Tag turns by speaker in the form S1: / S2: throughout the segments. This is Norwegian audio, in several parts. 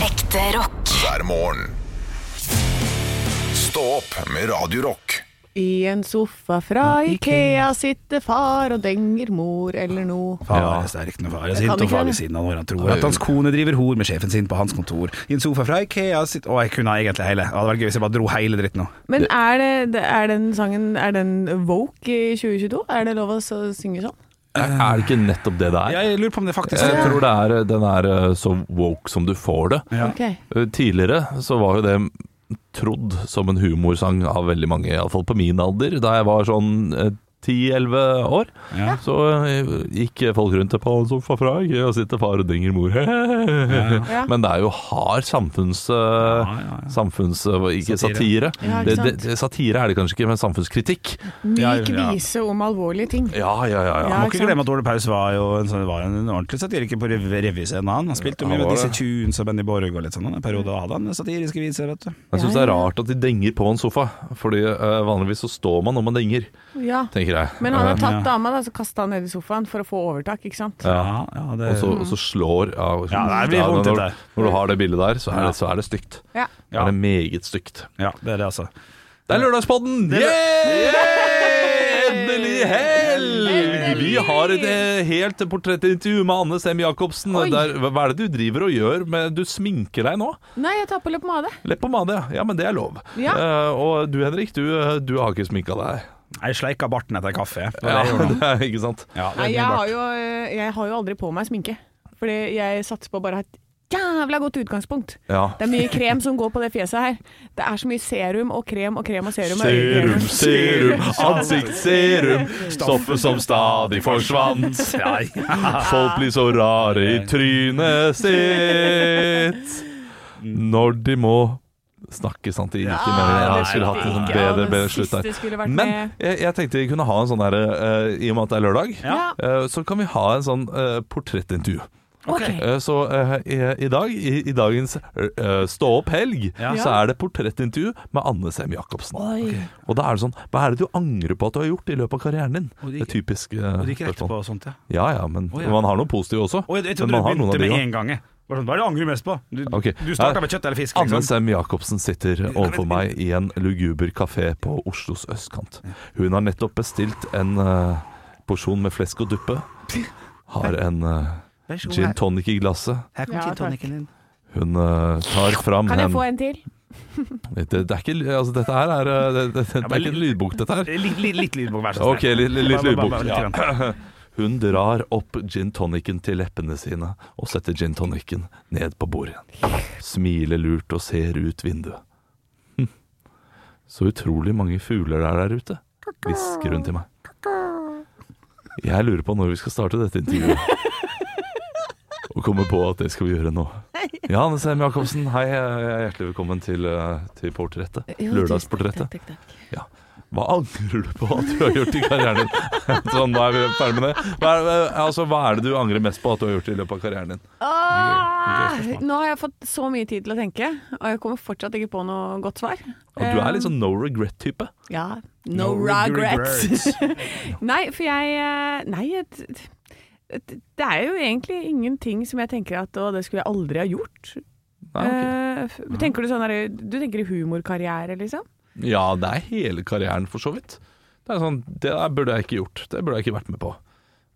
S1: Ekte rock.
S2: hver morgen. Stå opp med Radio Rock.
S3: I en sofa fra Ikea sitter far og denger mor eller noe.
S4: Far
S5: Ja.
S4: er sterk når far er
S3: kan
S4: sint, og
S3: ikke
S4: far
S3: det.
S4: ved siden av når han tror at hans kone driver hor med sjefen sin på hans kontor. I en sofa fra Ikea sitt Å, jeg kunne egentlig hele. Det hadde vært gøy hvis jeg bare dro hele dritten nå.
S3: Men er, det, det- er den sangen er den woke i 2022? Er det lov å s- synge sånn?
S5: Er er det ikke nettopp det det er?
S4: Jeg lurer på om det faktisk
S5: Jeg
S4: er
S5: tror det er, den er eh, så woke som du får det.
S4: Ja.
S3: Ok.
S5: Eh, Tidligere så var jo det trodd som en humorsang av veldig mange, iallfall på min alder, da jeg var sånn eh, 10-11 år,
S4: Ja.
S5: så eh, gikk folk rundt og på en sofa fra Ikea og sitter far og denger mor.
S3: Ja.
S5: Men det er jo hard samfunns... eh,
S4: ja, ja.
S5: Samfunns... eh, Ikke
S4: Satire.
S5: satire.
S3: Ja, ikke
S5: det, det,
S3: sant.
S5: det- satire er det kanskje ikke, men samfunnskritikk.
S4: Ja,
S3: Myk
S4: ja.
S3: vise om alvorlige ting.
S5: Ja, ja, ja. ja.
S3: Ja,
S4: Må
S3: ikke
S4: ikke
S3: sant?
S4: glemme at Ole Paus var jo en, sånn, var en ordentlig satiriker på rev- revyscenen. Han Han spilte jo
S5: Han
S4: mye med
S5: var
S4: disse
S5: det.
S4: Tunes og Benny Borg og litt sånn. En periode hadde han satiriske viser, vet du.
S5: Jeg syns
S3: Ja,
S5: det er
S3: ja.
S5: rart at de denger på en sofa, Fordi eh, vanligvis så står man når man denger,
S3: Ja.
S5: tenker jeg.
S3: Men han har
S5: Eh,
S3: tatt dama, da, så kasta han ned i sofaen for å få overtak, ikke sant?
S5: ja.
S4: ja, det,
S5: Eh, Og så, og
S3: Mm.
S5: så slår ja, og-
S4: Ja, det blir vondt,
S5: når,
S4: dette.
S5: når du har det bildet der, så er
S4: Ja.
S5: det, så er det stygt.
S3: Ja.
S5: Det
S4: ja,
S5: er det meget stygt.
S4: ja, det er det, altså.
S5: Det er lørdagspodden!
S4: er lø-
S5: Yeah! Endelig helg! Vi har et eh, helt portrettintervju med Anne Sem Jacobsen.
S3: Oi.
S5: Der, hva hva er det du driver og gjør? Med, du sminker deg nå?
S3: Nei, jeg tar på leppepomade.
S5: Leppepomade, ja. ja. Men det er lov.
S3: Ja.
S5: Eh, og du Henrik, du, eh, du har ikke sminka deg.
S4: Jeg sleika barten etter kaffe. Det var det
S5: Ja,
S4: jeg gjorde nå.
S5: det er, ikke sant?
S4: Ja, det
S3: Nei,
S4: er
S3: jeg
S4: mye
S3: har
S4: bart.
S3: jo, eh, jeg har jo aldri på meg sminke. Fordi jeg satser på å bare ha et jævla godt utgangspunkt.
S5: Ja.
S3: Det er mye krem som går på det fjeset her. Det er så mye serum og krem og krem og serum. og
S5: Serum,
S3: øyekremer.
S5: serum, ansiktsserum, stoffet som stadig forsvant. Folk blir så rare i trynet sitt når de må snakke sant de
S3: Ah,
S5: ikke mener det. Jeg skulle hatt en sånn bedre, bedre slutt der. Men jeg, jeg tenkte vi kunne ha en sånn her, eh, i og med at det er lørdag,
S3: Ja.
S5: eh, så kan vi ha en sånn eh, portrettintervju.
S3: Ok.
S5: Eh, Så eh, i, i dag, i, i dagens eh, Stå opp-helg,
S4: Ja.
S5: så er det portrettintervju med Anne Sem Jacobsen. Og da er det sånn Hva er det du angrer på at du har gjort i løpet av karrieren din?
S4: Og det
S5: det
S4: gikk-
S5: er typisk eh,
S4: Og det gikk rett
S5: spørsmål.
S4: på og sånt, ja.
S5: Ja ja, men
S4: Å, ja.
S5: man har noe positivt også.
S4: Og jeg, jeg
S5: Men
S4: trodde
S5: man
S4: du
S5: har noen
S4: begynte
S5: av de
S4: med
S5: også.
S4: en gang. jeg. Bare sånn, Hva er det du angrer mest på? Du,
S5: Ok.
S4: du starta
S5: Ja.
S4: med kjøtt eller fisk?
S5: Anne
S4: Liksom.
S5: Sem Jacobsen sitter overfor meg i en luguber kafé på Oslos østkant. Hun har nettopp bestilt en eh, porsjon med flesk og duppe. Har en eh,
S4: Vær så god,
S5: gin
S4: her-
S5: tonic i glasset.
S4: Her
S3: Ja,
S4: gin tonicen din.
S5: Hun eh, tar fram
S3: Kan jeg
S5: en-
S3: få en til?
S5: Det, det er ikke Altså, dette her er eh, det, det, det, det er ikke en lydbok, dette her.
S4: Eh, Litt, litt, litt lydbok, vær så snill.
S5: Ok, litt, litt,
S4: Bare-
S5: litt
S4: bare-
S5: lydbok.
S4: bare litt
S5: Ja.
S4: grann.
S5: Hun drar opp gin tonicen til leppene sine og setter gin tonicen ned på bordet. Smiler lurt og ser ut vinduet. Hm. Så utrolig mange fugler det er der ute, hvisker hun til meg. Jeg lurer på når vi skal starte dette intervjuet. Og kommer på at det skal vi gjøre nå. Ja, Anne Sem Jacobsen, hei. eh, Hjertelig velkommen til, eh, til portrettet. Lørdagsportrettet. Ja. Hva angrer du på at du har gjort i karrieren din? Sånn, da er vi ferdig med det. Hva er, altså, hva er det du angrer mest på at du har gjort i løpet av karrieren din?
S3: Åh! Nå har jeg fått så mye tid til å tenke, og jeg kommer fortsatt ikke på noe godt svar. Eh,
S5: Og du er litt sånn no regret-type.
S3: Ja. No, regrets. nei, for jeg eh, Nei, jeg- det er jo egentlig ingenting som jeg tenker at å, det skulle jeg aldri ha gjort.
S5: Nei, Ah, ok.
S3: Eh, f- Tenker du sånn derre Du tenker humorkarriere, liksom?
S5: Ja, det er hele karrieren, for så vidt. Det er sånn, det der burde jeg ikke gjort. Det burde jeg ikke vært med på.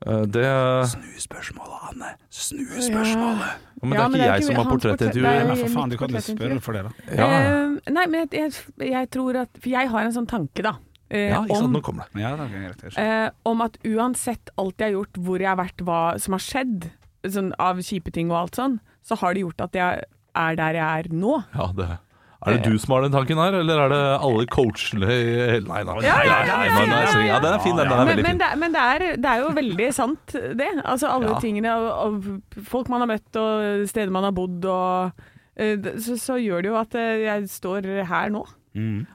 S5: Eh, Det, ja,
S4: Snu spørsmålet, Anne. Snu spørsmålet.
S5: men det
S3: Ja,
S5: er
S3: men
S5: ikke jeg som har
S3: hans portrett-
S5: portrettintervju.
S3: det er jo-
S4: Ja,
S5: Ja.
S4: men Eh, for faen, du kan jo
S3: mitt portrett-
S4: spørre for det, da.
S5: Ja,
S3: Eh, nei, men jeg, jeg, jeg tror at For jeg har en sånn tanke, da. eh,
S5: ikke sant,
S3: om,
S5: nå kommer det.
S4: Ja, det er greit, jeg skjønner.
S3: eh, om at uansett alt jeg har gjort, hvor jeg har vært, hva som har skjedd, sånn, av kjipe ting og alt sånn, så har det gjort at jeg er der jeg er nå.
S5: Ja, det. Er det du som har den tanken her, eller er det alle coachene i hele Nei, nei, nei,
S4: Ja,
S5: nei,
S4: ja,
S5: nei, nei, nei, nei. Ja, den er fin, den. Den er
S3: men
S5: veldig
S3: men,
S5: fin.
S3: det, men det, er, det er jo veldig sant, det. Altså alle
S5: Ja.
S3: tingene og, og folk man har møtt og steder man har bodd og eh, det- så, så gjør det jo at eh, jeg står her nå.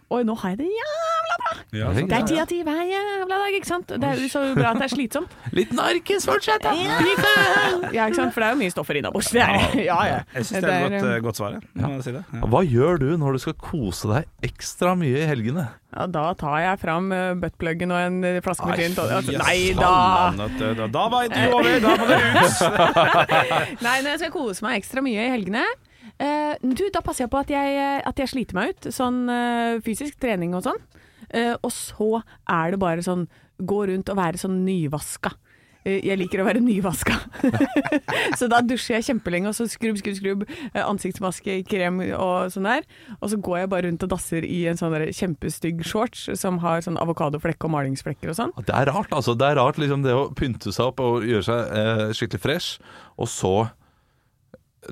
S3: Og nå har jeg det jævla bra!
S4: Mm. Ja,
S5: Det er
S3: Det
S4: sånn,
S3: er
S4: ja.
S3: ti av ti hver jævla dag, ikke sant? Det er jo så bra at det er slitsomt.
S5: Litt narkis fortsatt, da.
S3: Ja, ikke sant? For det er jo mye stoffer innabords. Det er ja, ja.
S4: Jeg syns det er et godt,
S3: eh,
S4: eh, godt svar, jeg. Må jeg si det. Ja.
S5: Hva gjør du når du skal kose deg ekstra mye i helgene?
S3: ja, Da tar jeg fram eh, buttpluggen og en eh, flaske med
S5: Nei,
S3: gin. tonic. Altså,
S4: Ja,
S3: Nei da!
S4: sann at, eh, Da, da var intervjuet over, da må dere ut!
S3: Nei, når jeg skal kose meg ekstra mye i helgene Eh, du, da passer jeg på at jeg, eh, at jeg sliter meg ut, sånn eh, fysisk trening og sånn. Eh, og så er det bare sånn gå rundt og være sånn nyvaska. Eh, jeg liker å være nyvaska. så da dusjer jeg kjempelenge, og så skrubb, skrubb, skrubb. eh, ansiktsmaske, krem og sånn der. Og så går jeg bare rundt og dasser i en sånn der kjempestygg shorts som har sånn avokadoflekk og malingsflekker og sånn.
S5: Det er rart, altså. Det er rart liksom det å pynte seg opp og gjøre seg eh, skikkelig fresh, og så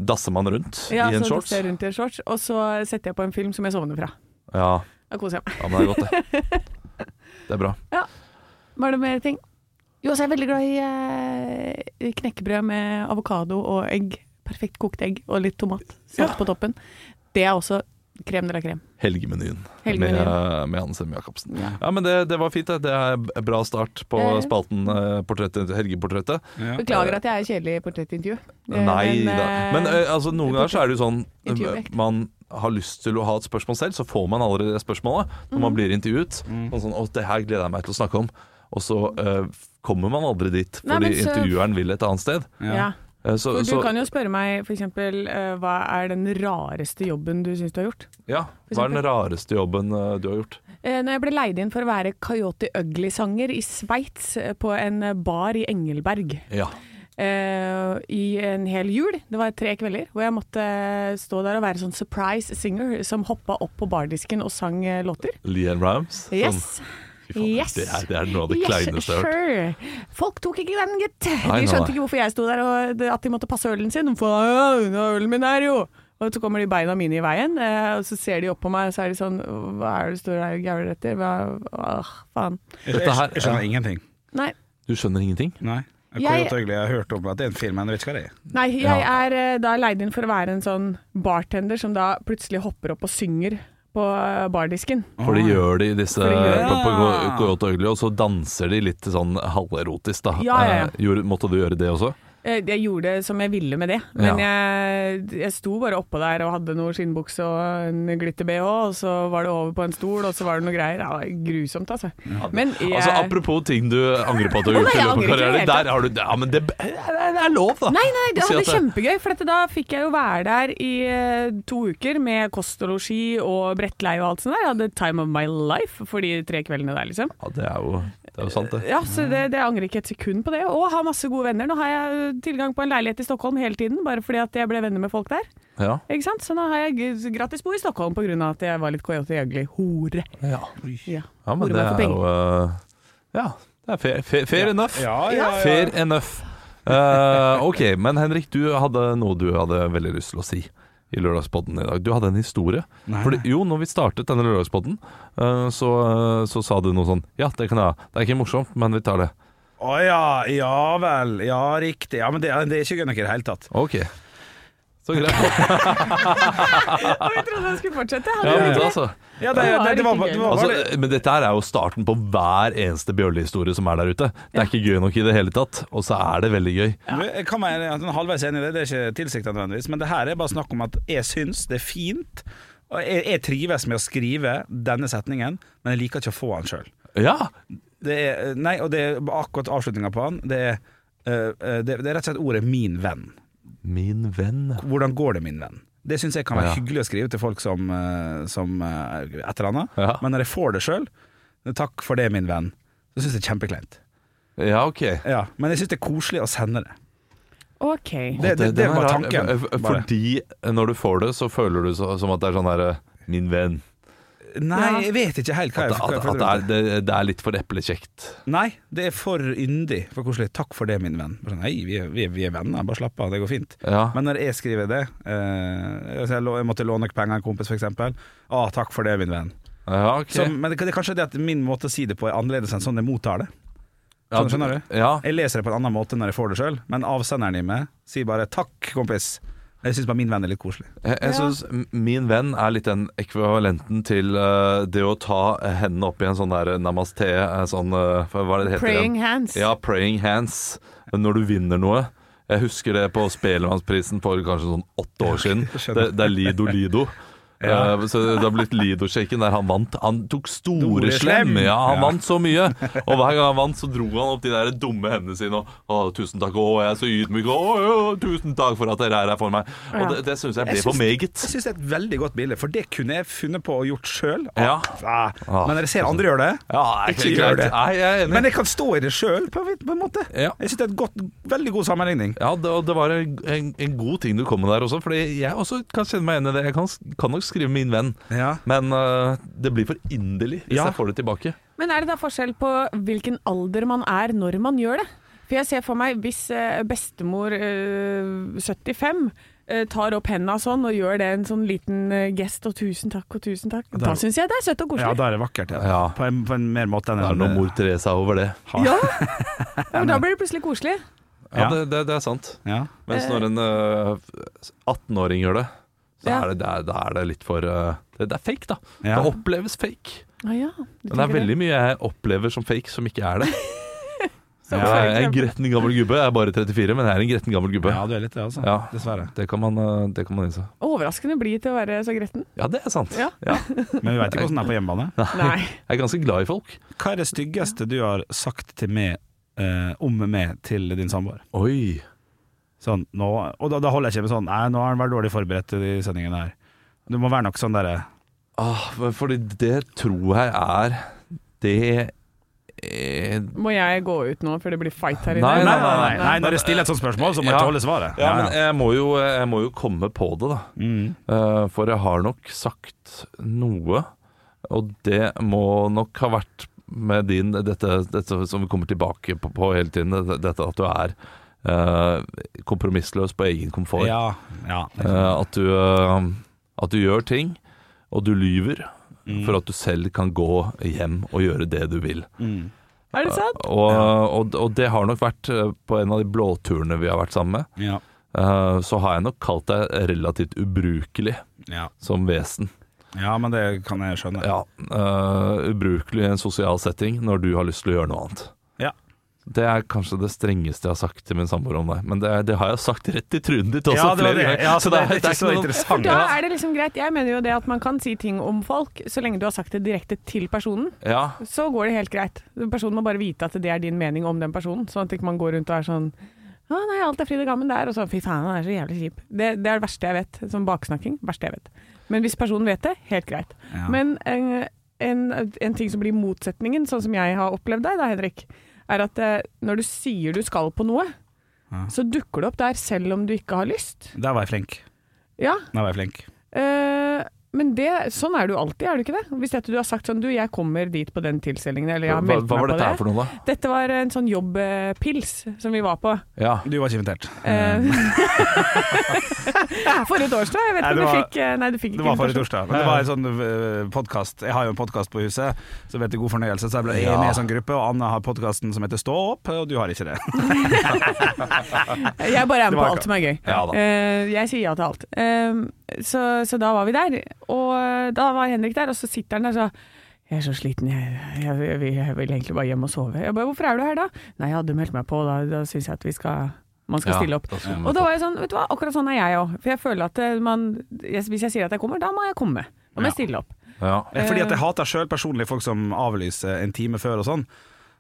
S5: dasser man rundt
S3: Ja,
S5: i en
S3: så
S5: shorts.
S3: dasser jeg rundt i en shorts, og så setter jeg på en film som jeg sovner fra.
S5: Ja,
S3: Da koser jeg meg.
S5: ja, men det er godt, det. Det er bra.
S3: Var det mer ting? Jo, så er jeg veldig glad i eh, knekkebrød med avokado og egg. Perfekt kokt egg og litt tomat. Salt på toppen. Det er også krem de la krem.
S5: Helgemenyen,
S3: Helgemenyen.
S5: Med, med Hanne Semme Jacobsen. Ja. men det, det var fint, det. Det er b- bra start på
S3: Ja, ja.
S5: spalten eh, portrettet, Helgeportrettet.
S3: Beklager at jeg er kjedelig i portrettintervju. Eh,
S5: Nei
S3: men,
S5: da.
S3: eh,
S5: Men eh, altså, noen ganger så er det jo sånn
S3: Intervjuobjekt.
S5: Man har lyst til å ha et spørsmål selv, så får man allerede det spørsmålet når
S3: Mm.
S5: man blir intervjuet. Og sånn, å, det her gleder jeg meg til å snakke om. Og så eh, kommer man aldri dit,
S3: Nei,
S5: fordi
S3: men så-
S5: intervjueren vil et annet sted.
S3: ja.
S5: Eh, så,
S3: For
S5: så,
S3: Du kan jo spørre meg f.eks.: uh, Hva er den rareste jobben du syns du har gjort?
S5: ja, hva er den rareste jobben eh, du har gjort?
S3: Eh, Når jeg ble leid inn for å være Coyote Ugly-sanger i Sveits, eh, på en eh, bar i Engelberg.
S5: Ja.
S3: eh, i en hel jul. Det var tre kvelder hvor jeg måtte stå der og være sånn surprise singer som hoppa opp på bardisken og sang eh, låter.
S5: Leanne Rams? Sånn,
S3: Yes.
S5: fy faen,
S3: Yes.
S5: det, er, det er noe av det kleineste jeg har hørt.
S3: sure. Folk tok ikke den, gitt.
S5: Nei,
S3: De
S5: nei,
S3: skjønte
S5: nei.
S3: ikke hvorfor jeg sto der og det- at de måtte passe ølen sin. For «Ja, ølen min er jo Og så kommer de beina mine i veien, eh, og så ser de opp på meg, og så er de sånn Hva er det du står der og gauler etter? Hva Åh, faen.
S4: Jeg,
S5: Dette her-
S4: jeg skjønner ingenting.
S3: Nei.
S5: Du skjønner ingenting?
S4: Nei. Jeg,
S3: Jeg-
S4: Coyote Ugly, jeg har hørt om at det er en film, men jeg vet ikke hva det er.
S3: Nei, jeg
S5: Ja.
S3: er eh, da leid inn for å være en sånn bartender som da plutselig hopper opp og synger på eh, bardisken.
S5: For det gjør de i disse
S3: det gjør de.
S5: på, på Go- Coyote Ugly, og så danser de litt sånn halverotisk, da.
S3: Ja, ja, ja.
S5: Eh, gjorde- måtte du gjøre det også?
S3: Eh, Jeg gjorde som jeg ville med det, men jeg, jeg sto bare oppå der og hadde noe skinnbukse og en glitter-BH, og så var det over på en stol, og så var det noe greier. Ja, det var grusomt, altså. Men jeg,
S5: Altså Apropos ting du angrer på at du har
S3: Å, nei,
S5: gjort i
S3: jeg
S5: løpet av
S3: angrer ikke i det
S5: karrieren.
S3: hele tatt.
S5: Der har du Ja, men det, det er lov, da.
S3: Nei, nei, det
S5: Å si
S3: hadde
S5: at det-
S3: kjempegøy, for dette, da fikk jeg jo være der i eh, to uker med kost og losji og brettleie og alt sånt der. Jeg hadde time of my life for de tre kveldene der, liksom.
S5: Ja, det er jo, det er jo sant, det.
S3: Ja, så det, det angrer ikke et sekund på det. Og har masse gode venner. Nå har jeg øh, tilgang på en leilighet i Stockholm hele tiden, bare fordi at jeg ble venner med folk der.
S5: Ja.
S3: Ikke sant? Så nå har jeg g- gratis bo i Stockholm pga. at jeg var litt coyote ugly. Hore.
S5: Ja.
S3: Ja.
S5: ja, men
S3: Hore
S5: det
S3: meg for
S5: er jo
S3: penger.
S5: eh, Ja, det er fair, fair, fair enough.
S4: ja,
S5: Fair enough. Eh, ok, men Henrik, du hadde noe du hadde veldig lyst til å si i lørdagspodden i dag. Du hadde en historie.
S4: Nei,
S5: Fordi, jo, når vi startet denne lørdagspodden, eh, så, eh, så sa du noe sånn Ja, det kan jeg ha. Det er ikke morsomt, men vi tar det.
S4: Å ja, ja vel. Ja, riktig. Ja, men det, det er ikke gøy nok i det hele tatt.
S5: Ok. Så greit.
S3: Og jeg trodde jeg skulle fortsette.
S5: Ja,
S3: Hadde
S5: men,
S3: jeg ikke
S5: altså.
S4: Ja, det,
S3: Ja,
S4: det, det, var,
S3: riktig
S4: det
S3: gøy.
S4: var bare
S5: Altså, men dette her er jo starten på hver eneste bjøllehistorie som er der ute. Det er ikke gøy nok i det hele tatt, og så er det veldig gøy.
S4: Du, Jeg kan være en- en halvveis enig i det, det er ikke tilsikta nødvendigvis, men det her er bare snakk om at jeg syns det er fint. Og jeg, jeg trives med å skrive denne setningen, men jeg liker ikke å få den sjøl.
S5: Ja,
S4: Det er, nei, og det er akkurat avslutninga på den. Det er, eh, eh, det, det er rett og slett ordet 'min venn'.
S5: min venn.
S4: Hvordan går det, min venn? Det syns jeg kan være
S5: Ja.
S4: hyggelig å skrive til folk som, eh, som eh, et eller annet,
S5: Ja.
S4: men når jeg får det sjøl, 'takk for det, min venn', så syns jeg det er kjempekleint.
S5: Ja, ok.
S4: Ja, men jeg syns det er koselig å sende det.
S3: OK.
S4: Det, det, det,
S5: eh, den
S4: var
S5: rar.
S4: tanken.
S5: F- f-
S4: bare.
S5: Fordi eh, når du får det, så føler du så, som at det er sånn derre Min venn.
S4: Nei, jeg vet ikke helt hva
S5: At,
S4: jeg, hva
S5: at,
S4: jeg
S5: at
S4: føler
S5: det,
S4: rundt
S5: er, det, det er litt for eplekjekt.
S4: Nei, det er for yndig for koselig. Takk for det, min venn. Bare sånn, Nei, vi er, vi er, vi er venner, bare slapp av, det går fint.
S5: Ja.
S4: Men når jeg skriver det eh, altså jeg, lå- jeg måtte låne noen penger av en kompis, f.eks. Å, takk for det, min venn.
S5: ja, ok.
S4: Så, men det, det er kanskje det at min måte å si det på er annerledes enn sånn jeg mottar det.
S5: ja,
S4: sånn skjønner du?
S5: Ja.
S4: Jeg leser det på en annen måte når jeg får det sjøl, men avsenderen i meg sier bare 'takk, kompis'. Jeg syns bare min venn er litt koselig.
S5: Jeg, jeg synes min venn er litt den ekvivalenten til eh, det å ta hendene opp i en sånn der namaste eh, sånn, eh, Hva er det det heter? igjen?
S3: Praying hands.
S5: Ja, praying hands når du vinner noe. Jeg husker det på Spelemannsprisen for kanskje sånn åtte år siden.
S4: skjønner.
S5: Det, det er Lido Lido.
S4: Ja.
S5: Eh, Så det har blitt Lido-shaken der han vant. Han tok store
S4: Store
S5: slem!
S4: slem.
S5: Ja, han
S4: Ja.
S5: vant så mye. Og hver gang han vant, så dro han opp de der dumme hendene sine og Å, tusen takk, å, jeg er så ydmyk, å, å, tusen takk for at dere er her for meg.
S3: Ja.
S5: Og det, det syns jeg ble
S4: Jeg
S5: for
S4: syns-
S5: meget.
S4: Jeg syns det er et veldig godt bilde, for det kunne jeg funnet på og gjort sjøl.
S5: Ja. Ah.
S4: Men når jeg ser andre gjøre det
S5: Ja, det er
S4: Ikke
S5: ikke
S4: gjør
S5: greit.
S4: det.
S5: Nei, jeg er enig.
S4: Men jeg kan stå i det sjøl, på, en- på en måte.
S5: Ja.
S4: Jeg syns det er et godt, veldig god sammenligning.
S5: Ja, det, og det var en, en, en god ting du kom med der også, Fordi jeg også kan kjenne meg igjen i det. Jeg kan, kan nok skrive 'min venn',
S4: Ja.
S5: men øh, det blir for inderlig hvis
S4: Ja.
S5: jeg får det tilbake.
S3: Men er det da forskjell på hvilken alder man er når man gjør det? For jeg ser for meg hvis eh, bestemor eh, 75 eh, tar opp henda sånn og gjør det en sånn liten eh, gest og tusen takk og tusen takk, da syns jeg det er søtt og
S4: Ja,
S3: koselig.
S4: da er det vakkert. Ja.
S5: Ja. øh,
S4: På, en, på en eh, mer måte enn
S5: Det er noe mor Teresa over det.
S4: Ja.
S3: Ja, Ja, men da blir det plutselig koselig.
S5: Ja,
S4: Ja.
S5: det, det, det er sant.
S4: Ja.
S5: Mens når en øh, 18-åring gjør det, så
S3: Eh. Ja.
S5: er det, det, er, da er det litt for øh, det, det er fake, da.
S4: Ja.
S5: Det oppleves fake.
S3: Ah, ja, du
S5: Men det er
S3: tenker
S5: veldig mye jeg opplever som fake, som ikke er det.
S3: Som
S5: Jeg
S3: for
S5: er en
S3: eksempel-
S5: gretten gammel gubbe. Jeg er bare 34, men jeg er en gretten gammel gubbe.
S4: ja, du er litt det, altså.
S5: Ja.
S4: Dessverre.
S5: Det kan man, øh, det kan man innse.
S3: Overraskende blid til å være så gretten.
S5: Ja, det er sant.
S3: Ja.
S5: Ja.
S4: Men vi veit ikke hvordan det er på hjemmebane.
S3: Nei.
S5: Jeg er ganske glad i folk.
S4: Hva er det styggeste du har sagt til meg eh, om meg til din samboer?
S5: Oi.
S4: Sånn, nå, og da, da holder jeg ikke med sånn Nei, nå har han vært dårlig forberedt til de sendingene her. Du må være nok sånn derre
S5: Ah, men fordi det tror jeg er det eh,
S3: Må jeg gå ut nå før det blir fight her inne?
S5: Nei,
S4: Nei, nei, nei,
S5: nei,
S4: nei, når jeg stiller et sånt spørsmål, så må jeg
S5: Ja.
S4: tåle svaret.
S5: Ja, men eh, jeg må, jo, jeg må jo komme på det, da.
S4: Mm.
S5: Eh, For jeg har nok sagt noe, og det må nok ha vært med din Dette, dette som vi kommer tilbake på, på hele tiden, det- dette at du er eh, kompromissløs på egen komfort.
S4: Ja, ja.
S5: Eh, at, du, eh, at du gjør ting, og du lyver for at du selv kan gå hjem og gjøre det du vil.
S4: Mm.
S3: Er det sant?
S5: Og, og, og det har nok vært eh, på en av de blåturene vi har vært sammen med.
S4: ja.
S5: eh, Så har jeg nok kalt deg relativt ubrukelig
S4: Ja.
S5: som vesen.
S4: ja, men det kan jeg skjønne.
S5: Ja, eh, Ubrukelig i en sosial setting når du har lyst til å gjøre noe annet.
S4: Ja.
S5: Det er kanskje det strengeste jeg har sagt til min samboer om deg. Men det, er- det har jeg sagt rett i trynet ditt også
S4: Ja, det var
S5: flere
S4: det.
S5: ganger.
S4: Ja, så det er ikke så
S5: noe-
S4: interessant.
S3: Da er det liksom greit. Jeg mener jo det at man kan si ting om folk, så lenge du har sagt det direkte til personen.
S5: Ja,
S3: så går det helt greit. Personen må bare vite at det er din mening om den personen, sånn at ikke man går rundt og er sånn å nei, alt er fryd og gammen der, og så fy faen, han er så jævlig kjip. Det, det er det verste jeg vet. Sånn baksnakking. Verste jeg vet. Men hvis personen vet det, helt greit.
S4: Ja.
S3: Men eh, en, en ting som blir motsetningen, sånn som jeg har opplevd deg da, Henrik, er at eh, når du sier du skal på noe,
S4: Ja.
S3: så dukker du opp der selv om du ikke har lyst.
S4: Der var jeg flink.
S3: Ja,
S4: Der var jeg flink.
S3: Eh, men det, sånn er du alltid, er du ikke det? Hvis dette du har sagt sånn Du, jeg kommer dit på den tilstillingen, eller jeg
S5: hva,
S3: har
S5: hva
S3: meldt meg
S5: var
S3: på
S5: dette
S3: det.
S5: her for noe, da?
S3: Dette var en sånn jobbpils som vi var på.
S5: Ja.
S4: Du var ikke invitert.
S3: Eh,
S4: Mm.
S3: for et års, da. Jeg vet ikke
S4: Nei,
S3: om
S4: det
S3: du
S4: var-
S3: fikk eh, Nei, du fikk
S4: Det
S3: ikke
S4: var forrige
S3: invitasjon.
S4: torsdag. Men det var en sånn podkast Jeg har jo en podkast på huset som heter God fornøyelse, så jeg ble
S5: Ja.
S4: med i en sånn gruppe. Og Anna har podkasten som heter Stå opp, og du har ikke det.
S3: Jeg bare er
S4: Det
S3: med
S4: var
S3: på
S4: ikke-
S3: alt som er gøy.
S5: Ja da.
S3: Eh, jeg sier ja til alt. Eh, så, så da var vi der, og da var Henrik der, og så sitter han der så jeg er så sliten, jeg, jeg, jeg, vil- jeg vil egentlig bare hjem og sove. Jeg bare, Hvorfor er du her da? Nei, jeg hadde meldt meg på, da, da syns jeg at vi skal, man skal
S5: Ja,
S3: stille opp.
S5: da skal man
S3: Og da var jeg sånn, vet du hva, akkurat sånn er jeg òg. For jeg føler at eh, man, jeg, hvis jeg sier at jeg kommer, da må jeg komme. Da må jeg stille opp.
S5: Ja.
S4: Fordi
S3: Eh.
S4: at jeg hater sjøl personlig folk som avlyser en time før og sånn.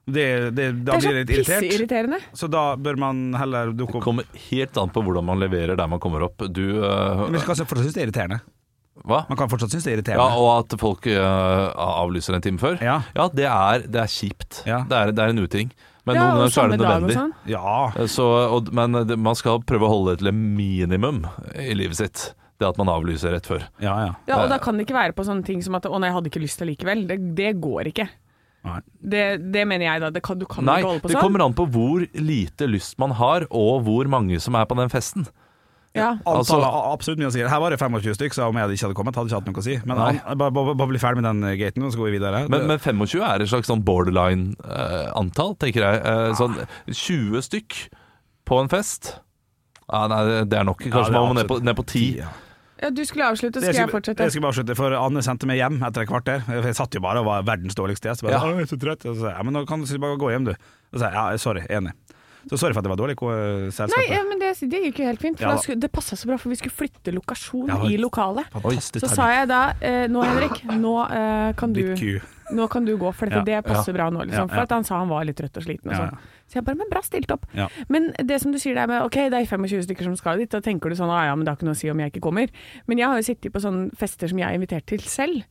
S4: Det, det, da
S3: det
S4: blir jeg
S3: er
S4: litt
S3: så
S4: irritert.
S3: pisseirriterende.
S4: Så da bør man heller dukke
S5: Det
S4: opp.
S5: kommer helt an på hvordan man leverer der man kommer opp. Du øh,
S4: Men man kan fortsatt synes det er irriterende.
S5: Hva?
S4: Man kan fortsatt synes det er
S5: Ja,
S4: irriterende.
S5: og at folk øh, avlyser en time før?
S4: Ja.
S5: det, er, det er kjipt.
S4: Ja.
S5: Det, er, det er en uting. Men
S3: Ja,
S5: noen
S3: og
S5: ganger så er det
S3: samme dag og
S5: nødvendig. Eh,
S3: sånn.
S4: Ja.
S5: Så, og, men det, man skal prøve å holde det til et minimum i livet sitt. Det at man avlyser rett før.
S4: Ja, ja.
S3: Ja, og da kan det ikke være på sånne ting som at 'å nei, jeg hadde ikke lyst allikevel'. Det, det går ikke.
S4: Nei.
S3: Det, det mener jeg da. Det kan, du kan
S5: Nei,
S3: ikke holde på
S5: det
S3: sånn.
S5: kommer an på hvor lite lyst man har, og hvor mange som er på den festen.
S3: Ja.
S4: Antallet
S5: Altså-
S4: har absolutt mye å si. Her var det 25 stykk, så om jeg ikke hadde kommet, hadde jeg ikke hatt noe å si. Men
S5: Nei.
S4: an- bare, bare, bare bli ferdig med den eh, gaten, og så går vi videre.
S5: Men,
S4: Det-
S5: men 25 er et slags sånn borderline-antall, tenker jeg.
S4: Ah.
S5: Eh, sånn 20 stykk på en fest. Ja, nei, det- det er nok.
S4: Ja,
S5: Kanskje
S4: det er
S5: man må ned på,
S4: absolutt
S5: ned på 10.
S4: ja.
S3: ja, du skulle avslutte, så skal
S4: Jeg
S3: jeg
S4: skulle,
S3: fortsette.
S4: jeg skulle bare slutte, for Anne sendte meg hjem etter et kvarter. Jeg satt jo bare og var verdens dårligste gjest. Bare,
S5: Ja.
S4: «Å, jeg er så trøtt. Og så sa jeg, ja, men nå kan du bare gå hjem, du. Og så sa jeg, ja, sorry, enig. Så sorry for at det var dårlig ko-
S3: Nei,
S4: selskap. eh,
S3: ja, men det, det gikk jo helt fint. For
S4: Ja da.
S3: da skulle, det passa så bra, for vi skulle flytte lokasjon
S4: Ja,
S3: i lokalet.
S4: Fantastisk.
S3: Så sa jeg da eh, Nå, Henrik, nå, eh, kan du,
S4: Ditt ku.
S3: nå kan du gå, for dette,
S4: Ja.
S3: det passer bra nå.
S4: Ja,
S3: Liksom,
S4: ja.
S3: for at han sa han var litt trøtt og sliten. Og
S4: Ja, ja.
S3: sånn. Så jeg bare Men bra stilt opp.
S4: Ja.
S3: Men det som du sier der med Ok, det er 25 stykker som skal dit, da tenker du sånn ah, ja, men det har ikke noe å si om jeg ikke kommer. Men jeg har jo sittet på sånne fester som jeg er invitert til selv.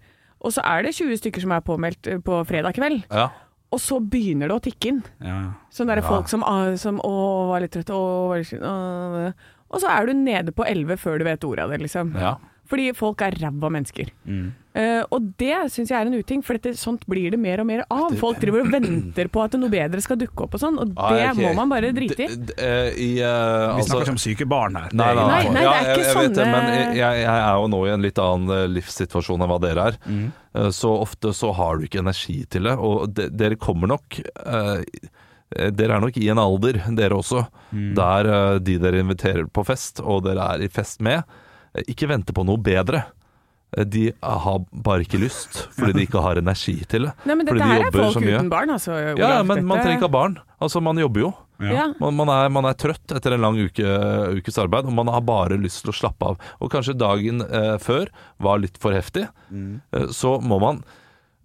S3: Og så er det 20 stykker som er påmeldt eh, på fredag kveld.
S5: Ja.
S3: Og så begynner det å tikke inn.
S4: Ja.
S3: Sånn derre folk som, ah, som Å, var litt trøtt. Å, var litt sliten. «Å». Og så er du nede på 11 før du vet ordet av det, liksom.
S5: Ja. Mm.
S3: Fordi folk er ræva mennesker. Eh, og det syns jeg er en uting, for dette, sånt blir det mer og mer av. Folk driver og venter på at noe bedre skal dukke opp og sånn, og
S5: Ah,
S3: det
S5: ja, ok.
S3: må man bare drite i.
S5: D- d- eh, i, eh,
S4: Vi snakker ikke om syke barn her.
S5: Nei, nei, nei.
S3: Nei, nei, det er
S5: Ja,
S3: ikke
S5: jeg, jeg vet det,
S3: sånne-
S5: men jeg, jeg er jo nå i en litt annen eh, livssituasjon enn hva dere er.
S3: Mm.
S5: Eh, Så ofte så har du ikke energi til det, og de, dere kommer nok eh, eh, Dere er nok i en alder, dere også,
S3: Mm.
S5: der eh, de dere inviterer på fest, og dere er i fest med, eh, ikke venter på noe bedre. Eh, De har bare ikke lyst, fordi de ikke har energi til det.
S3: Nei, men dette
S5: fordi de
S3: her er
S5: jobber
S3: folk
S5: så mye.
S3: uten barn, altså. Olav.
S5: Ja, ja, men
S3: Dette-
S5: man trenger ikke ha barn. Altså, man jobber jo.
S3: ja.
S5: Man, man, er, man er trøtt etter en lang uke, ukes arbeid, og man har bare lyst til å slappe av. Og kanskje dagen eh, før var litt for heftig, eh, så må man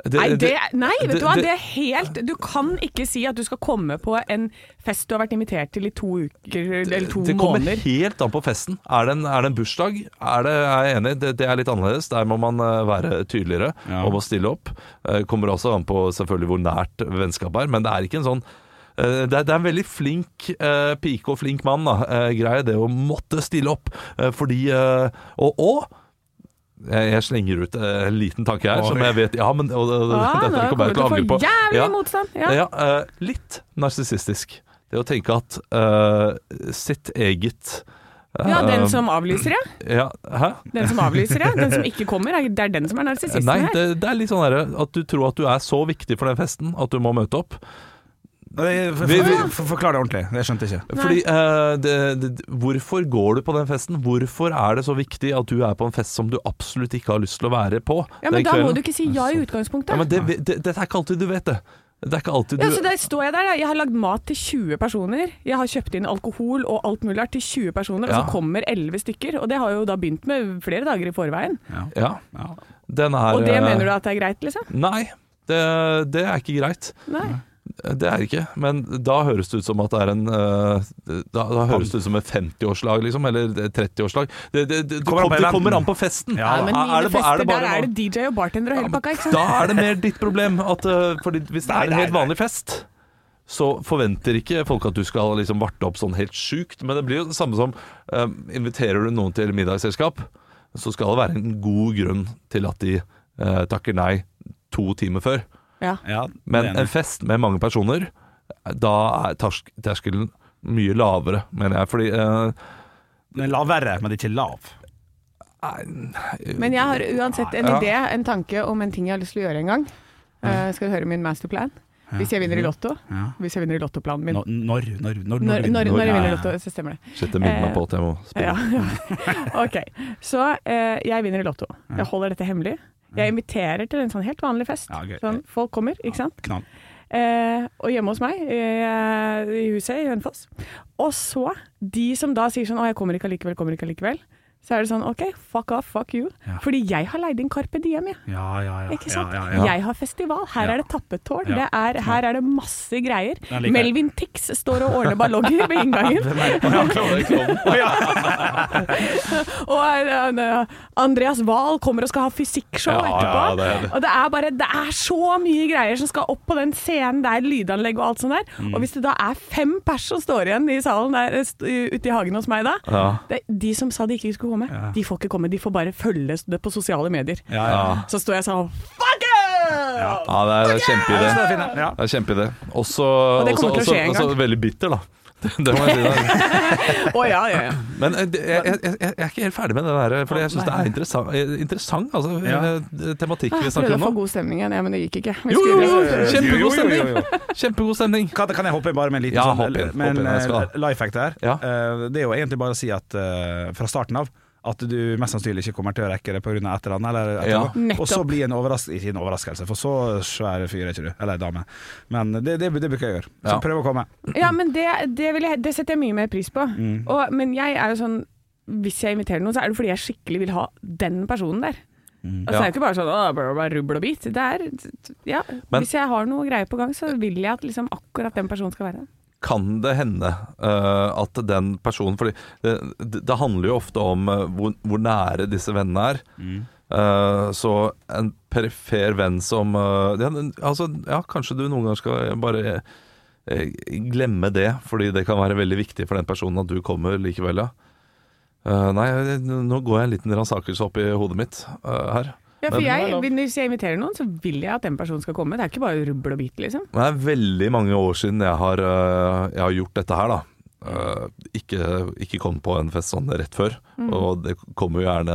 S5: det-
S3: Nei, det,
S5: det-
S3: nei, vet
S5: det-
S3: du hva,
S5: det-
S3: det er helt Du kan ikke si at du skal komme på en fest du har vært invitert til i to uker eller to
S5: det kommer
S3: måneder.
S5: helt an på festen. Er det en, er det en bursdag? Er det, er jeg enig, det, det er litt annerledes. Der må man eh, være tydeligere
S4: Ja.
S5: om å stille opp. Eh, Kommer også an på selvfølgelig hvor nært vennskapet er, men det er ikke en sånn eh, det er, det er en veldig flink eh, pike og flink mann da, eh, greie, det å måtte stille opp. eh, fordi eh, Og, og jeg, jeg slenger ut eh, en liten tanke her,
S4: Oi.
S5: som jeg vet Ja, men og, og,
S3: Ja,
S5: dette
S3: Ah, nå
S5: kommer jeg til å
S3: kommer du
S5: angre
S3: til å
S5: på.
S3: få jævlig
S5: Ja.
S3: motstand, ja.
S5: Ja, eh, litt narsissistisk. Det å tenke at eh, sitt eget eh,
S3: Ja, den som avlyser, ja.
S5: ja, Hæ?
S3: Den som avlyser, ja. Den som ikke kommer, er- det er den som er narsissisten
S5: Nei,
S3: her.
S5: det, det er litt sånn derre at du tror at du er så viktig for den festen at du må møte opp.
S4: Nei, for-
S5: Vi- vi-
S4: for- for- Forklar det ordentlig. Jeg skjønte ikke.
S5: Fordi eh, det, det, Hvorfor går du på den festen? Hvorfor er det så viktig at du er på en fest som du absolutt ikke har lyst til å være på?
S3: Ja, men
S5: den
S3: da må
S5: kvelden?
S3: du ikke si ja i utgangspunktet.
S5: ja, men det, det, Dette er ikke alltid du vet det. Det er ikke alltid du
S3: Ja, så der står jeg der, da. Jeg har lagd mat til 20 personer. Jeg har kjøpt inn alkohol og alt mulig rart til 20 personer, og
S5: Ja.
S3: så kommer 11 stykker. Og det har jo da begynt med flere dager i forveien.
S5: Ja,
S4: Ja.
S5: den er
S3: Og det
S5: eh,
S3: mener du at det er greit, liksom?
S5: Nei, det, det er ikke greit.
S3: Nei.
S5: Det er det ikke, men da høres det ut som at det er en eh, Da, da høres det ut som et 50-årslag, liksom, eller et 30-årslag. Det, det, det, det,
S4: Kommer an på
S5: kom, det
S4: eventen.
S5: kommer an på festen.
S4: Ja,
S3: Nei, men
S5: Er-
S3: mine
S5: er det ba- er
S3: fester,
S5: det bare
S3: der er
S5: noe-
S3: det DJ og bartender og hele pakka, ikke sant?
S5: Da er det mer ditt problem. At, eh, fordi hvis det
S4: Nei,
S5: er en
S4: nei,
S5: helt vanlig fest, så forventer ikke folk at du skal liksom varte opp sånn helt sjukt. Men det blir jo det samme som eh, Inviterer du noen til middagsselskap, så skal det være en god grunn til at de eh, takker nei to timer før.
S3: Ja.
S4: Ja,
S5: Men
S4: det er
S5: en
S4: enig.
S5: fest med mange personer, da er tersk terskelen mye lavere, mener jeg. Fordi eh,
S4: Den er lavere, men ikke lav.
S3: Men jeg har uansett en
S5: Ja.
S3: idé, en tanke om en ting jeg har lyst til å gjøre en gang. Eh, skal du høre min masterplan? Hvis jeg vinner i Lotto.
S4: Ja.
S3: Hvis jeg vinner i Lottoplanen min.
S4: Når, når, når, når,
S3: Når, når, når jeg
S4: Ja,
S3: vinner i
S4: ja.
S3: Lotto, så stemmer det.
S5: Shit, det minner meg på at jeg må
S3: Ja,
S5: spille.
S3: ja. Ok, så eh, jeg vinner i Lotto. Jeg holder dette hemmelig. Jeg inviterer til en sånn helt vanlig fest.
S4: Ja, gøy.
S3: Sånn, folk kommer, ikke sant.
S4: Knall.
S3: Eh, og hjemme hos meg, eh, i huset i Hønefoss. Og så, de som da sier sånn 'Å, jeg kommer ikke allikevel, kommer ikke allikevel'. Så er det sånn OK, fuck off, fuck you.
S4: Ja.
S3: Fordi jeg har leid inn Carpe Diem, jeg.
S4: Ja, ja, ja.
S3: Ikke sant?
S4: Ja, ja, ja.
S3: Jeg har festival, her
S4: Ja.
S3: er det tappetårn,
S4: Ja.
S3: det er, her er det masse greier.
S4: liker jeg.
S3: Melvin Tix står og ordner ballonger ved inngangen.
S4: Å, ja.
S3: Og eh, Andreas Wahl kommer og skal ha fysikkshow
S5: Ja,
S3: etterpå.
S5: ja, det er det.
S3: Og det er bare Det er så mye greier som skal opp på den scenen der, lydanlegg og alt sånt der.
S4: Mm.
S3: Og hvis det da er fem pers som står igjen i salen der eh, st- ute i hagen hos meg da,
S5: Ja.
S3: det, de som sa de ikke skulle komme, de får ikke komme. De får bare følge det på sosiale medier.
S4: ja, ja.
S3: Så står jeg sånn Fuck it!
S5: Ja, det er,
S4: Ja, så
S5: det er
S4: det
S5: kjempeidé.
S4: er fint, ja.
S5: Det er kjempeidé. Også,
S3: Og det kommer
S5: også,
S3: til å
S5: også,
S3: skje en
S5: også
S3: gang.
S5: veldig bitter, da. Det, det må jeg si. da.
S3: Å ja, ja, ja.
S5: Men eh, det- jeg, jeg, jeg, jeg er ikke helt ferdig med det der, for jeg syns det er interessant, eh, interessant altså,
S4: Ja.
S5: eh, tematikk vi
S3: Prøvde
S5: snakker
S3: Ah, å få
S5: om nå.
S3: god stemning igjen, ja, men det gikk ikke. Vi
S5: Jo,
S3: skulle-
S5: jo, jo!
S4: Jo,
S5: Kjempegod
S4: jo, jo,
S5: stemning!
S4: jo,
S5: Kjempegod stemning.
S4: Kan, kan jeg hoppe inn bare med en liten
S5: Ja,
S4: sånn,
S5: hopp inn,
S4: med en,
S5: hopp inn, jeg skal.
S4: eh, life hack der?
S5: Ja.
S4: Eh, det er jo egentlig bare å si at eh, fra starten av at du mest sannsynlig ikke kommer til å rekke det pga. et eller annet. Eller et
S5: Ja.
S4: eller annet. Og så
S3: Nettopp.
S4: blir en overraskelse Ikke en overraskelse, for så svær fyr er ikke du. Eller dame. Men det, det, det bruker jeg å gjøre. Så
S5: Ja.
S4: prøv å komme.
S3: Ja, men det, det, vil jeg, det setter jeg mye mer pris på.
S5: Mm.
S3: Og, men jeg er jo sånn Hvis jeg inviterer noen, så er det fordi jeg skikkelig vil ha den personen der.
S5: Mm.
S3: Altså, Det er jo ikke bare sånn «Åh, bla, bla, bla, rubbel og bit. Det er, ja,
S5: Men-
S3: hvis jeg har noe greier på gang, så vil jeg at liksom, akkurat den personen skal være der.
S5: kan det hende eh, at den personen Fordi det, det det handler jo ofte om eh, hvor, hvor nære disse vennene er. Eh, så en perifer venn som eh, ja, den- altså, ja, kanskje du noen ganger skal bare eh, glemme det, fordi det kan være veldig viktig for den personen at du kommer likevel, ja. Eh, nei, nå går jeg en liten ransakelse opp i hodet mitt eh, her.
S3: Ja, for
S5: Men-
S3: jeg, Hvis jeg inviterer noen, så vil jeg at den personen skal komme. Det er ikke bare rubbel og bit, liksom.
S5: Men det er veldig mange år siden jeg har, øh, jeg har gjort dette her, da. Øh, ikke, ikke kom på en fest sånn rett før.
S3: Mm.
S5: Og det kommer jo gjerne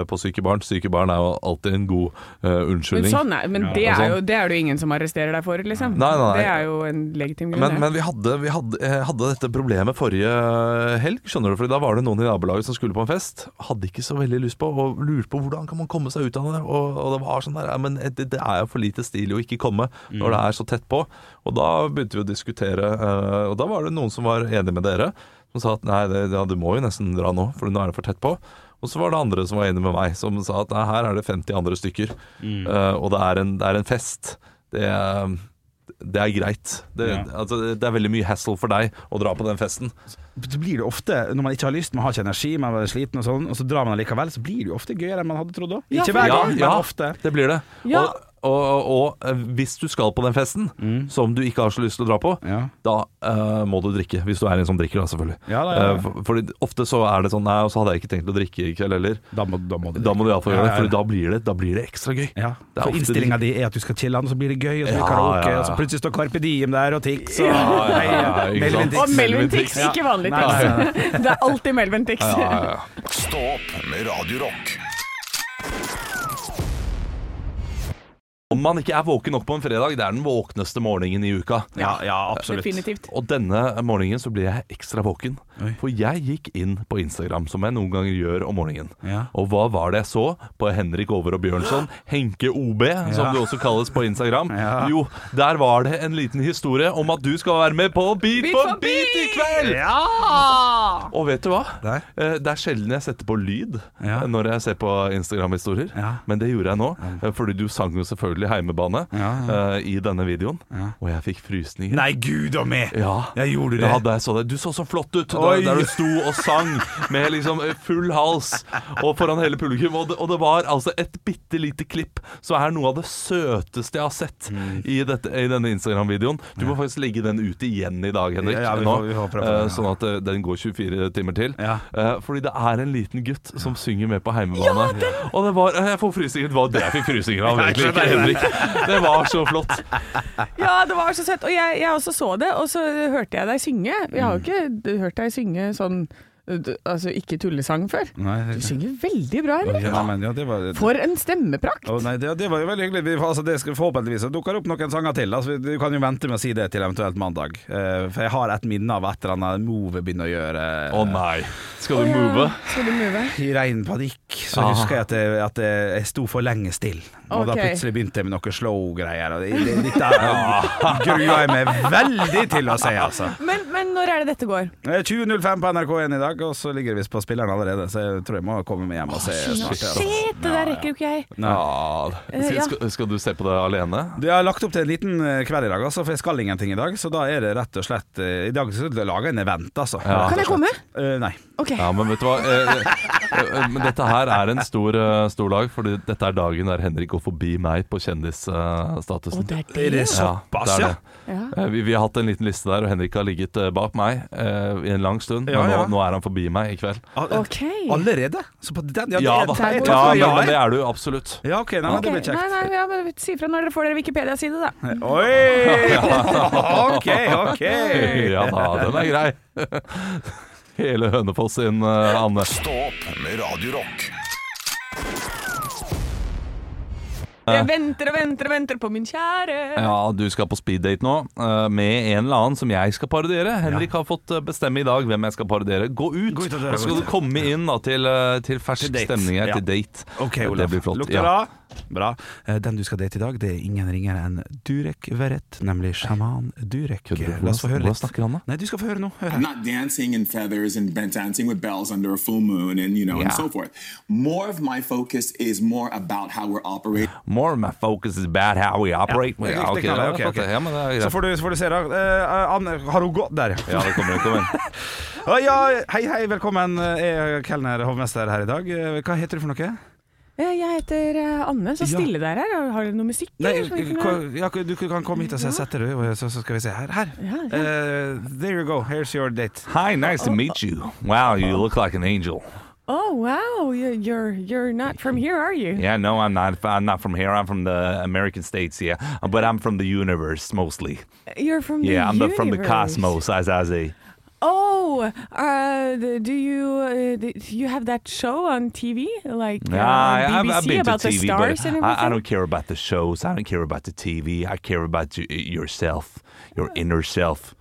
S5: øh, på syke barn. Syke barn er jo alltid en god øh,
S3: Men,
S5: unnskyldning.
S3: sånn er, men
S4: Ja.
S3: det,
S5: Og
S3: er
S5: sånn.
S3: jo, det er det jo ingen som arresterer deg for, liksom.
S5: Nei, nei, nei.
S3: Det er jo en legitim grunn.
S5: Men,
S3: det.
S5: men vi, hadde, vi hadde, eh, hadde dette problemet forrige eh, helg, skjønner du. Fordi da var det noen i nabolaget som skulle på en fest. Hadde ikke så veldig lyst på, og lurte på hvordan kan man komme seg ut av det. Og, og det var sånn der, ja, men det, det er jo for lite stil å ikke komme når det er så tett på. Og da begynte vi å diskutere, eh, og da var det noen som var enig med dere. Som sa at nei, det, ja, du må jo nesten dra nå, for nå er det for tett på. Og så var det andre som var enig med meg, som sa at nei, her er det 50 andre stykker. eh, og det er en, det er en fest. Det er det er greit. Det,
S4: Ja.
S5: altså, det er veldig mye hassle for deg å dra på den festen.
S4: så blir det ofte, når man ikke har lyst, man har ikke energi, man er sliten og sånn, og så drar man likevel, så blir det jo ofte gøyere enn man hadde trodd òg.
S3: Ja,
S4: Ikke
S3: for
S4: hver
S3: det-
S4: gang, men ofte.
S5: det blir det.
S3: Ja.
S5: Og, og, og, eh, hvis du skal på den festen, som du ikke har så lyst til å dra på,
S4: Mm. Ja.
S5: da eh, må du drikke. Hvis du er en som drikker, da, selvfølgelig.
S4: Ja, da, ja, ja.
S5: Eh, for, fordi ofte så er det sånn Nei, og så hadde jeg ikke tenkt å drikke i kveld heller.
S4: Da må, da må du
S5: Da må du iallfall
S4: Ja,
S5: gjøre det,
S4: ja,
S5: for
S4: ja.
S5: da blir det, da blir det ekstra gøy.
S4: Ja,
S5: Det er
S4: for
S5: ofte
S4: innstillinga di er at du skal chille, og så blir det gøy, og så blir det
S5: Ja,
S4: karaoke,
S5: ja, ja.
S4: og så plutselig står Carpe Diem der, og Tix og
S5: Ja, ja, ja,
S4: Nei,
S5: ikke sant.
S4: Melvin Tix.
S3: Og Melvin Tix,
S5: Ja.
S3: ikke vanlig
S4: Nei,
S3: Tix.
S4: nei,
S3: Det er alltid Melvin Tix.
S5: Ja, ja, ja.
S2: Stå opp med Radio Rock.
S5: Om man ikke er våken nok på en fredag, det er den våkneste morgenen i uka.
S4: Ja, ja, absolutt.
S3: Definitivt.
S5: Og denne morgenen så ble jeg ekstra våken,
S4: Oi.
S5: for jeg gikk inn på Instagram, som jeg noen ganger gjør om morgenen.
S4: Ja.
S5: Og hva var det jeg så på Henrik Over og Bjørnson, Henke OB, som
S4: Ja.
S5: det også kalles på Instagram?
S4: Ja.
S5: Jo, der var det en liten historie om at du skal være med på Beat
S3: Beat
S5: for
S3: for
S5: beat i
S3: Beat!
S5: kveld!
S3: Ja!
S5: Og vet du hva?
S4: Nei.
S5: Eh, Det er sjelden jeg setter på lyd
S4: Ja.
S5: eh, når jeg ser på Instagram-historier,
S4: Ja.
S5: men det gjorde jeg nå. eh, Fordi du sang jo selvfølgelig heimebane
S4: Ja,
S5: eh, i denne videoen,
S4: Ja.
S5: og jeg fikk frysninger.
S4: Nei, gud og meg!
S5: Ja.
S4: Jeg gjorde det.
S5: Ja, da jeg så deg. Du så så flott ut da,
S4: Oi.
S5: der du sto og sang med liksom full hals og foran hele publikum. Og det, og det var altså et bitte lite klipp som er noe av det søteste jeg har sett
S4: Mm.
S5: i, dette, i denne Instagram-videoen. Du må faktisk legge den ut igjen i dag, Henrik.
S4: Ja, ja, vi
S5: nå,
S4: får- vi får prøve
S5: eh,
S4: det, ja.
S5: Sånn at eh, den går 24 timer til.
S4: Ja.
S5: Eh, Fordi det er en liten gutt som synger med på heimebane. Og det var eh, Jeg får frysninger. Det var det jeg fikk frysninger av,
S4: Ja, jeg
S5: egentlig, ikke
S4: skjønner det.
S5: Henrik. Det var så flott.
S3: Ja, det var så søtt. Og jeg, jeg også så det, og så hørte jeg deg synge. Jeg
S4: Mm.
S3: har jo ikke hørt deg synge sånn uh, d- Altså ikke tullesang før.
S4: Nei,
S3: Du synger veldig bra, Henrik.
S4: Mm. ja, men, ja, det var
S3: For en stemmeprakt!
S4: Å, nei, det, det var jo veldig hyggelig. Vi, altså, det skal, forhåpentligvis så dukker det opp noen sanger til. Altså, vi- du kan jo vente med å si det til eventuelt mandag. Eh, for jeg har et minne av et eller annet move jeg begynner å gjøre.
S5: Å nei. Skal du
S3: Å, ja.
S5: move?
S3: Skal du move?
S4: I rein panikk så
S5: Ah.
S4: husker jeg at jeg, at jeg, jeg sto for lenge still. Og da
S3: Ok.
S4: plutselig begynte jeg med noe slow-greier. Og det, det, dette her gruer jeg meg veldig til å se, altså.
S3: Men, men når er det dette går?
S4: Eh, 20.05 på NRK1 i dag, og så ligger det visst på spilleren allerede. Så jeg tror jeg må komme meg hjem og se. snart, altså.
S3: Shit, det der rekker jo ikke jeg.
S4: Nei.
S5: Ja.
S3: Eh, ja.
S5: Skal, skal du se på det alene?
S4: Du, Jeg har lagt opp til en liten eh, kveld i dag, altså, for jeg skal ingenting i dag. Så da er det rett og slett eh, I dag skal jeg lage en event, altså.
S5: Ja.
S3: Kan jeg komme?
S4: Eh, nei.
S3: OK.
S5: Ja, men vet du hva? Eh, eh, eh, Men dette her er en stor, eh, stor dag, for dette er dagen der Henrik går forbi meg på
S3: Å,
S5: kjendisstatusen.
S3: det er det.
S4: Er det såpass, ja?
S3: Ja.
S5: Eh, Vi, vi har hatt en liten liste der, og Henrik har ligget eh, bak meg eh, i en lang stund.
S4: Ja,
S5: men nå,
S4: ja.
S5: nå er han forbi meg i kveld.
S4: Al-
S3: OK.
S4: Allerede? Så på den? Ja, det
S5: Ja
S4: er-
S5: da,
S4: jeg tror
S5: ja,
S4: jeg
S5: men, men det
S4: er.
S5: er du absolutt.
S4: Ja, OK, nei, men det
S3: Ok,
S4: blir kjekt.
S3: Nei, nei, ja, men Si fra når dere får dere Wikipedia-side, da.
S4: Oi! OK, OK.
S5: Ja da, den er grei. Hele Hønefoss sin, eh, Anne.
S2: Stå opp med Radio Rock.
S3: Jeg venter og venter og venter på min kjære.
S5: Ja, du skal på speeddate nå eh, med en eller annen som jeg skal parodiere. Henrik har fått eh, bestemme i dag hvem jeg skal parodiere. Gå ut,
S4: Gå ut av døra,
S5: og så skal
S4: gå
S5: du komme inn da, til, eh, til fersk
S4: Til date.
S5: stemning her,
S4: Ja.
S5: til date.
S4: Ok,
S5: det
S4: Olav.
S5: blir flott.
S4: Lukter
S5: Ja.
S4: bra. Bra. Eh, Den du skal date i dag, det er ingen ringere enn Durek Verrett, nemlig sjaman Durek.
S5: Kødder du?
S4: La oss få høre
S5: Hvordan
S4: litt.
S5: snakker han da?
S4: Nei, du skal få høre nå. Hør
S1: I'm
S4: her.
S1: not dancing in feathers and bent dancing with bells under a full moon and you know
S5: Yeah.
S1: and so forth. More of my focus is more about how we're operating.
S5: More of my focus is about how we operate.
S4: Ja,
S5: Ja,
S4: riktig,
S5: ok,
S4: knaller,
S5: ja,
S4: ok, ok.
S5: flott, Ja, men det er
S4: Så
S5: greit.
S4: får du, så får du se, da. Eh, Anne, har hun gått Der, ja.
S5: Ja, det kommer, det kommer.
S4: Ah, ja. Hei, hei, velkommen. Jeg er kelner hovmester her i dag. Eh, Hva heter du for noe?
S3: Eh, Jeg heter eh, Anne. Så
S4: Ja.
S3: stille der her. Har dere noe musikk?
S4: Nei,
S3: eller, som vi
S5: eh,
S3: kunne-
S4: hva- ja, du kan komme hit og se. Setter du, og så, så skal vi se. Her. her.
S3: Ja, ja.
S4: Eh, there you go. Here's your date.
S5: Hi, nice to meet you. Wow, you look like an angel.
S3: Oh wow, you- you're you're not from here, are you?
S5: Yeah, no, I'm not. I'm not from here. I'm from the American States, yeah. But I'm from the universe mostly.
S3: You're from the
S5: Yeah, I'm the, from the
S3: universe.
S5: cosmos, as I say.
S3: Oh, uh, the- do you uh, the- you have that show on TV like uh,
S5: Nah,
S3: on BBC
S5: I've, I've been
S3: about
S5: to TV,
S3: the stars
S5: but
S3: and everything?
S5: I, I don't care about the shows. I don't care about the TV. I care about y- yourself, your inner self.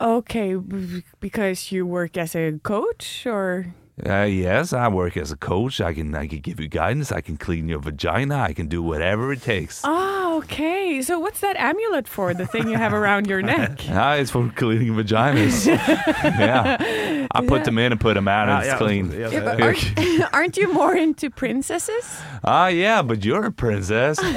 S3: Okay, b- because you work as a coach or
S5: Uh, yes, I work as a coach. I can I can give you guidance. I can clean your vagina. I can do whatever it takes.
S3: Oh, okay. So what's that amulet for? The thing you have around your neck?
S5: Ah, it's for cleaning vaginas. yeah, I put them in and put them out, and
S4: Ah,
S5: it's
S4: ja.
S5: clean.
S4: Ja,
S3: Yeah, but aren't, aren't you more into princesses?
S5: Ah, yeah, but you're a princess. Ah,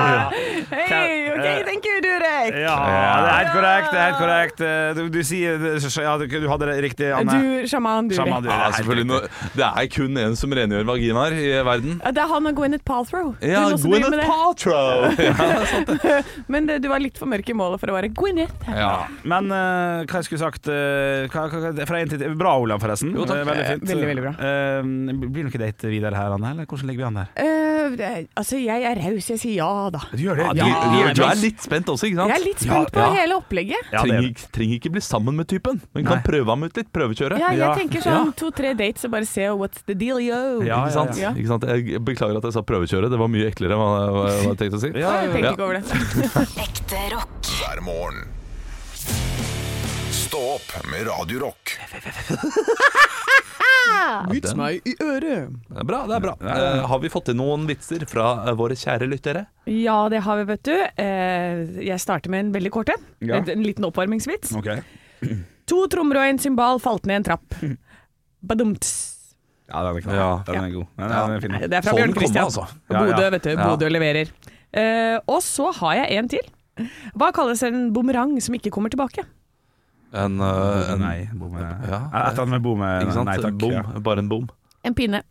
S3: Hey, okay, thank you, Durek.
S4: Ja, det er helt korrekt. Det er helt korrekt. Eh, Du, du sier ja, du, du hadde det riktig, Anne.
S3: Eh, Du, sjaman Durek.
S4: Sjaman, du, det er
S5: Ja,
S4: helt
S5: selvfølgelig.
S4: riktig.
S5: Noe, det er kun én som rengjør vaginaer i verden.
S3: Ja, Eh, Det er han og Gwyneth Paltrow. Hun
S5: Ja,
S3: er også driver med
S5: Gwyneth
S3: det.
S5: Paltrow!
S3: Men det, du var litt for mørk i målet for å være Gwyneth.
S5: Ja.
S4: Men eh, hva jeg skulle sagt eh, hva, hva, hva- Fra en til Bra, Olav, forresten.
S5: Jo, takk.
S4: Eh, Veldig fint.
S3: Eh, veldig, veldig bra.
S4: Eh, blir det noe date videre her, Anne? Eller hvordan ligger vi an der?
S3: Eh, det- altså, jeg er raus. Jeg sier ja, da.
S4: Du gjør det.
S5: Ja, du,
S4: Ja,
S5: du er litt spent også, ikke sant?
S3: Jeg er litt spent på
S5: Ja, ja.
S3: hele opplegget.
S4: Ja, det er
S5: trenger,
S4: det.
S5: ikke- trenger ikke bli sammen med typen, men kan
S4: Nei.
S5: prøve ham ut litt. Prøvekjøre.
S3: Ja, jeg
S4: Ja.
S3: tenker
S5: Ja.
S3: sånn to-tre dates og bare se what's the deal, yo.
S4: Ja,
S5: Ikke sant?
S3: ja.
S5: Ikke sant? Jeg beklager at jeg sa prøvekjøre, det var mye eklere enn hva hva jeg hadde tenkt å si.
S4: Ja,
S3: Jeg tenker
S5: ja.
S3: ikke over det.
S6: Ekte rock.
S2: hver morgen. Stå opp med Radio Rock.
S5: Vits meg i øret. Det er bra. det er bra Eh, Har vi fått inn noen vitser fra eh, våre kjære lyttere?
S3: Ja, det har vi, vet du. Eh, jeg starter med en veldig kort en.
S4: Ja.
S3: En- En liten oppvarmingsvits.
S4: Ok.
S3: To trommer og en cymbal falt ned en trapp. Badumts.
S4: Ja, den er knall.
S5: Ja.
S4: Den er god. Den er, den er fin.
S3: Det er fra
S5: Få den
S3: Bjørn Christian.
S5: komme, altså.
S4: Ja, ja.
S3: Bodø, vet du.
S5: Ja.
S3: Bodø leverer. Eh, og så har jeg en til. Hva kalles en bumerang som ikke kommer tilbake?
S5: En, eh, en
S4: Nei, bom er Et
S5: Ja.
S4: eller annet med bom er
S5: Ikke sant?
S4: Nei takk.
S5: bom.
S4: Ja.
S5: Bare en bom.
S3: En pinne.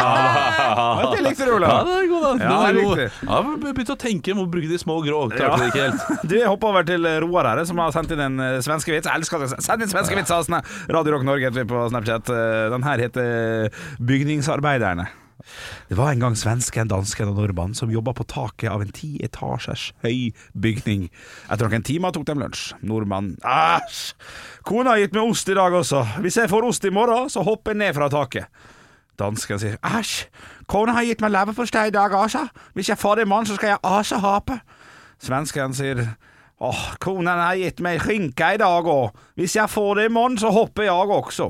S4: Ja, det likte du,
S5: Ja,
S4: Olav.
S5: det er god, da.
S4: Ja,
S5: Den er god.
S4: riktig.
S5: Ja, vi begynte å tenke, må bruke de små grå.
S4: Ja.
S5: Klarte det ikke helt.
S4: Du, jeg hopper over til Roar her, som har sendt inn en eh, svenske vits. Jeg elsker det. Send inn svenske vitser! Sånn, Radio Rock Norge heter vi på Snapchat. Eh, Den her heter Bygningsarbeiderne. Det var en gang svensken, dansken og nordmannen som jobba på taket av en ti etasjers høy bygning. Etter noen timer tok de lunsj. Nordmannen Æsj! Kona har gitt meg ost i dag også. Hvis jeg får ost i morgen, så hopper jeg ned fra taket. Dansken sier æsj, kona har gitt meg leverpostei i dag, Asa. Hvis jeg får det i morgen, så skal jeg asa hape. Svensken sier åh, konen har gitt meg skinke i dag òg. Hvis jeg får det i morgen, så hopper jeg også.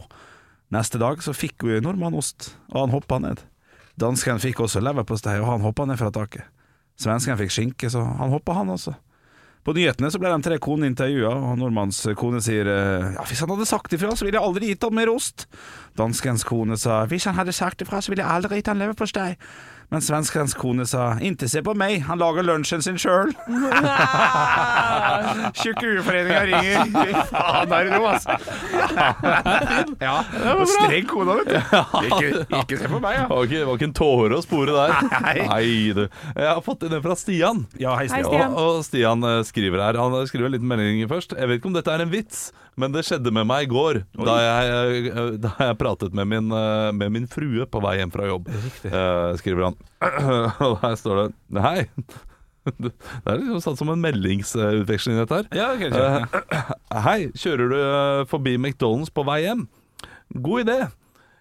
S4: Neste dag så fikk jo nordmannen ost, og han hoppa ned. Dansken fikk også leverpostei, og han hoppa ned fra taket. Svensken fikk skinke, så han hoppa han også. På nyhetene så ble de tre konene intervjua, og nordmanns kone sier eh, ja, hvis han hadde sagt ifra, så ville jeg aldri gitt ham mer ost. Danskens kone sa hvis han hadde sagt ifra, så ville jeg aldri gitt han leverpostei. Men svenskens kone sa ikke se på meg, han lager lunsjen sin sjøl. Tjukkueforeninga ringer. Fy faen, er det noe, altså? ja, og streng kone, vet du. Ikke, ikke se på meg, ja.
S5: Det var ikke, det var ikke en tåre å spore der.
S4: Nei.
S5: du. Jeg har fått en fra Stian.
S4: Ja, hei,
S3: Hei,
S4: Stian.
S5: Og, og Stian eh, skriver her Han skriver en liten melding først. Jeg vet ikke om dette er en vits, men det skjedde med meg i går da jeg, eh, da jeg pratet med min, eh, med min frue på vei hjem fra jobb. Eh, skriver han. Og der står det Hei. Det er liksom satt som en meldingsutveksling, dette her.
S4: Ja, ok, kjør.
S5: Eh, Hei, kjører du eh, forbi McDonald's på vei hjem? God idé.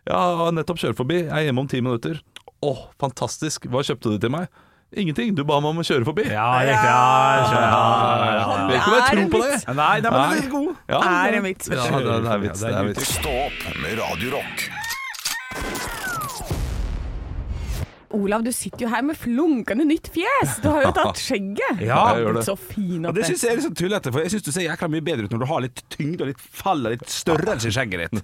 S5: Jeg har nettopp kjørt forbi. Jeg er hjemme om ti minutter. Å, fantastisk! Hva kjøpte du til meg? Ingenting. Du ba meg om å kjøre forbi.
S4: Ja, riktig. Ja, skjønner. ja, ja, ja.
S5: Jeg vet ikke om jeg
S3: Det er
S5: tror
S3: en
S5: på det.
S3: vits.
S4: Nei, nei, men den er god.
S5: Ja,
S3: Er en vits, vet
S5: Ja,
S3: du.
S5: det er- det er vits. Det er vits.
S2: Stå opp med Radio Rock.
S3: Olav, du sitter jo her med flunkende nytt fjes! Du har jo tatt skjegget!
S4: Ja,
S5: jeg gjør det.
S3: Så fin
S4: Og
S3: at
S4: det syns jeg er litt sånn tullete, for jeg syns du ser jækla mye bedre ut når du har litt tyngde og litt fall og litt størrelse i skjegget ditt.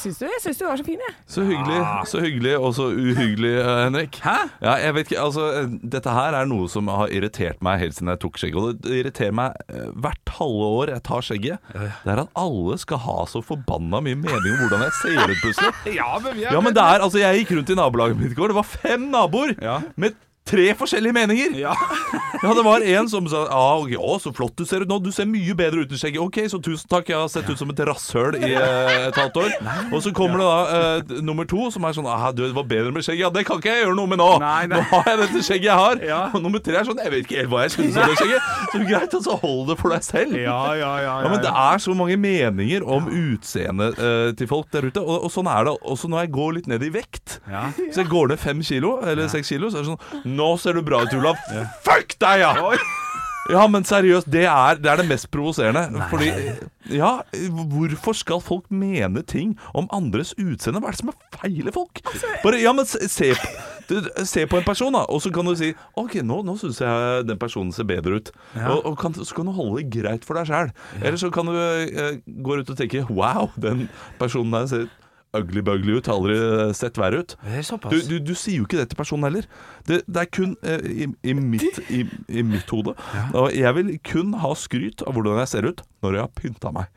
S3: Syns du, jeg syns du var så fin, jeg.
S5: Så hyggelig, så hyggelig og så uhyggelig, eh, Henrik.
S4: Ah. Hæ?
S5: Ja, jeg vet ikke, altså, eh, dette her er noe som har irritert meg helt siden jeg tok skjegget. Og det irriterer meg eh, hvert halve år jeg tar skjegget. Det er at alle skal ha så forbanna mye mening om hvordan jeg ser ut plutselig.
S4: Ja, men, vi er-
S5: Ja, men det er, altså Jeg gikk rundt i nabolaget mitt i går. Det var fem naboer
S4: Ja.
S5: med tre forskjellige meninger.
S4: Ja.
S5: Ja, det var en som sa ah, ok, Å, så flott du ser ut nå. Du ser mye bedre uten skjegg. Ok, så tusen takk. Jeg har sett ut som et rasshøl i eh, et halvt år. Og så kommer det da eh, nummer to, som er sånn ah, du, Det var bedre med skjegg. Ja, det kan ikke jeg gjøre noe med nå.
S4: Nei, nei.
S5: Nå har jeg dette skjegget jeg har.
S4: Ja.
S5: Og nummer tre er sånn Jeg vet ikke helt hva jeg syns om det skjegget. Så greit, altså. Hold det for deg selv.
S4: Ja, ja, ja,
S5: Ja, men Det er så mange meninger om utseendet eh, til folk der ute. Og, og sånn er det også når jeg går litt ned i vekt.
S4: Ja.
S5: Så jeg går ned fem kilo, eller seks kilo, så er det sånn Nå ser du bra ut, Olav. Fuck deg, ja!
S4: Oi.
S5: Ja, men seriøst, det er det, er det mest provoserende. Fordi Ja, hvorfor skal folk mene ting om andres utseende? Hva er det som er feil i folk? Bare, ja, men se, se, på- du, se på en person, da, og så kan du si OK, nå, nå syns jeg den personen ser bedre ut. Og, og kan, så kan du holde det greit for deg sjæl. Eller så kan du eh, gå ut og tenke Wow, den personen der ser ugly-bugly ut. Har aldri sett verre ut.
S4: Det er såpass.
S5: Du, du, du sier jo ikke det til personen heller. Det, det er kun eh, i, i, mitt, i, i mitt hode. Og jeg vil kun ha skryt av hvordan jeg ser ut når jeg har pynta meg.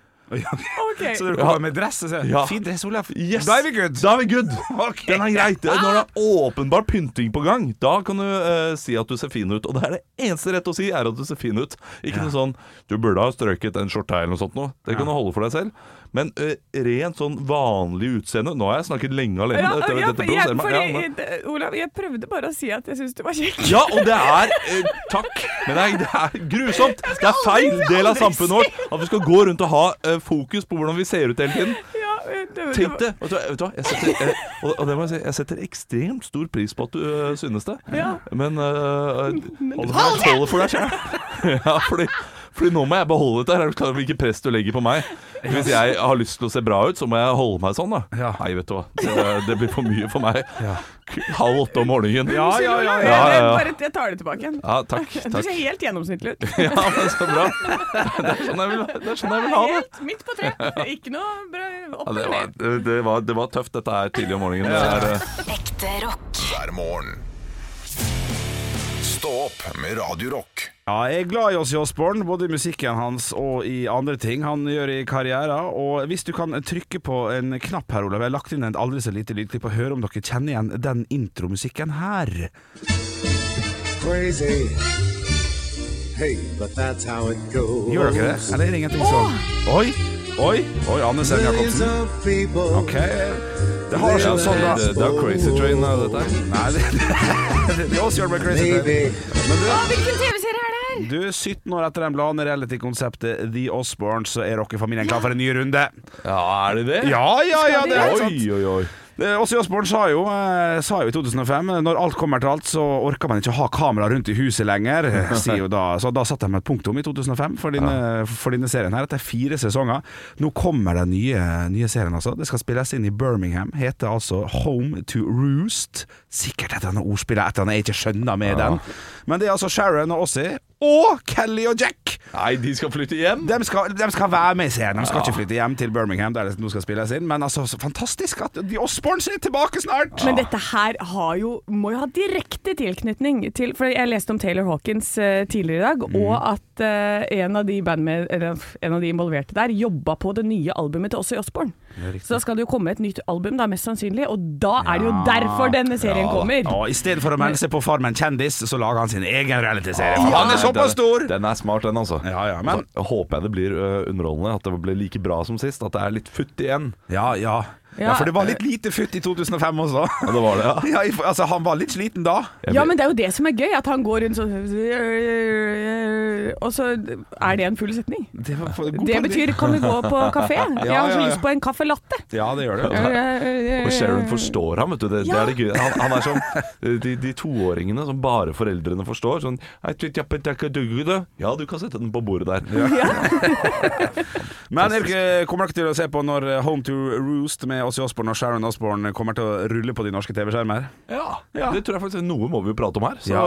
S3: Ok.
S4: Så dere kommer med dress og sier
S5: Ja.
S4: 'fin dress, Olaf'.
S5: Yes!
S4: Da er vi good.
S5: Da er vi good.
S4: Ok. Ah!
S5: Den er greit. Det- Når det er åpenbar pynting på gang, da kan du eh, si at du ser fin ut. Og det er det eneste rette å si, er at du ser fin ut. Ikke noe sånn 'du burde ha strøket en skjorte her', eller noe sånt noe. Det kan du holde for deg selv. Men eh, rent sånn vanlig utseende Nå har jeg snakket lenge alene.
S3: Ja,
S5: dette,
S3: ja,
S5: dette
S3: for jeg,
S5: provoserer meg.
S3: fordi,
S5: Ja, men-
S3: eh, Olav, jeg prøvde bare å si at jeg syns du var kjekk.
S5: Ja, og det er eh, Takk, men det er, det er grusomt. Det er feil del av samfunnet vårt at vi skal gå rundt og ha eh, fokus på hvordan vi ser ut hele tiden.
S3: Ja, eh, det- det
S5: Tenk
S3: var-
S5: det. Vet du, hva- vet du hva, jeg setter, eh, og, og det må jeg si, jeg setter ekstremt stor pris på at du eh, synes det,
S3: Ja.
S5: men eh, hold det for deg- hold det for deg sjøl. Ja, fordi fordi nå må jeg beholde dette. her Er du klar over hvilket press du legger på meg? Hvis jeg har lyst til å se bra ut, så må jeg holde meg sånn, da.
S4: Ja.
S5: Nei, vet du hva. Det, det blir for mye for meg. Halv åtte om morgenen.
S4: Ja, ja, ja,
S3: Jeg,
S4: ja.
S5: Ja,
S3: jeg,
S5: ja, ja.
S3: bare, jeg tar det tilbake igjen.
S5: Ja, takk.
S3: Du
S5: takk.
S3: ser helt gjennomsnittlig ut.
S5: Ja, men så bra. Det er sånn jeg vil, det er sånn jeg vil ha det.
S3: Helt midt på treet. Ikke noe bra- opp
S5: Ja, det,
S3: eller
S5: var,
S3: ned.
S5: det, var, det var tøft, dette her tidlig om morgenen. Det er, eh,
S6: Ekte rock.
S2: hver morgen. Stå opp med Radio Rock.
S4: Ja, jeg er glad i oss i Osborne, både i musikken hans og i andre ting han gjør i karrieren. Og hvis du kan trykke på en knapp her, Olav, jeg har lagt inn en aldri så lite lydklipp, og høre om dere kjenner igjen den intromusikken her.
S7: crazy. Hey, but that's how it goes.
S4: Gjør dere det? Eller er det ingenting som Oi, oi, oi, Anne Sem
S7: Millions
S4: Jacobsen.
S7: of people.
S4: Ok, det har seg sånn da.
S5: det, det er crazy train, eh, dette her.
S4: Nei, det, det, det er oss gjør det crazy.
S7: Baby.
S4: Men du,
S6: Hvilken TV-serie er det her?
S4: Du, 17 år etter den bladende reality-konseptet The Osbournes, så er rockefamilien klar for en ny runde.
S5: Ja, er det det?
S4: Ja, ja, ja, det er sant.
S5: Oi, oi, oi.
S4: Eh, Åse Jåsborn sa, jo, eh, sa jo i 2005 eh, Når alt kommer til alt så orker man ikke ha kamera rundt i huset lenger eh, sier jo da. Så da satt de et punktum i 2005 for denne, for denne serien her Etter fire sesonger Nå kommer den nye, nye serien altså Det skal spilles inn i Birmingham Heter altså Home to Roost Sikkert et eller annet ordspillet Et eller annet jeg ikke skjønner med den Men det er altså Sharon og Åse Og Kelly og Jack
S5: Nei, de skal flytte hjem?
S4: de skal, de skal være med i serien. De skal ikke flytte hjem til Birmingham, der det nå skal spilles inn. Men altså, så fantastisk at de Osborns er tilbake snart!
S3: Men dette her har jo, må jo ha direkte tilknytning til For jeg leste om Taylor Hawkins eh, tidligere i dag,
S5: Mm.
S3: og at eh, en, av de bandmed, eller, en av de involverte der jobba på det nye albumet til Åse Osborn. Så da skal det jo komme et nytt album, da, mest sannsynlig, og da er det jo derfor denne serien kommer.
S4: Og i stedet for å melde seg på Farmen kjendis, så lager han sin egen realityserie. For
S5: Ja,
S4: han er såpass stor!
S5: Den, den er smart, den, altså.
S4: Ja, ja, men-
S5: Så håper jeg det blir eh, underholdende, at det blir like bra som sist. At det er litt futt igjen.
S4: Ja, ja. Ja, for det var litt lite futt i 2005 også.
S5: Ja, det var det, ja.
S4: Ja, i- altså, han var litt sliten da.
S5: Jeg
S3: Ja,
S5: vet-
S3: men det er jo det som er gøy, at han går rundt sånn Og så er det en full setning.
S4: Det, var for- god
S3: Det
S4: parodi.
S3: betyr 'kan vi gå på kafé'? Jeg har
S4: ja,
S3: så
S4: ja.
S3: lyst på en caffè latte.
S4: Ja, det gjør det.
S5: Og Sharon forstår ham, vet du. Det, det
S3: Ja.
S5: er det gøye. Han, han er som de, de toåringene som bare foreldrene forstår. Sånn «Hei, tjut, jappe, takke, dugge, da. Ja, du kan sette den på bordet der.
S4: Men dere kommer dere til å se på når eh, Home to Roost med Åssi Osborne og Sharon Osborne kommer til å rulle på de norske TV-skjermer?
S5: Ja,
S4: Ja.
S5: Det tror jeg faktisk Noe må vi jo prate om her. Så
S4: eh,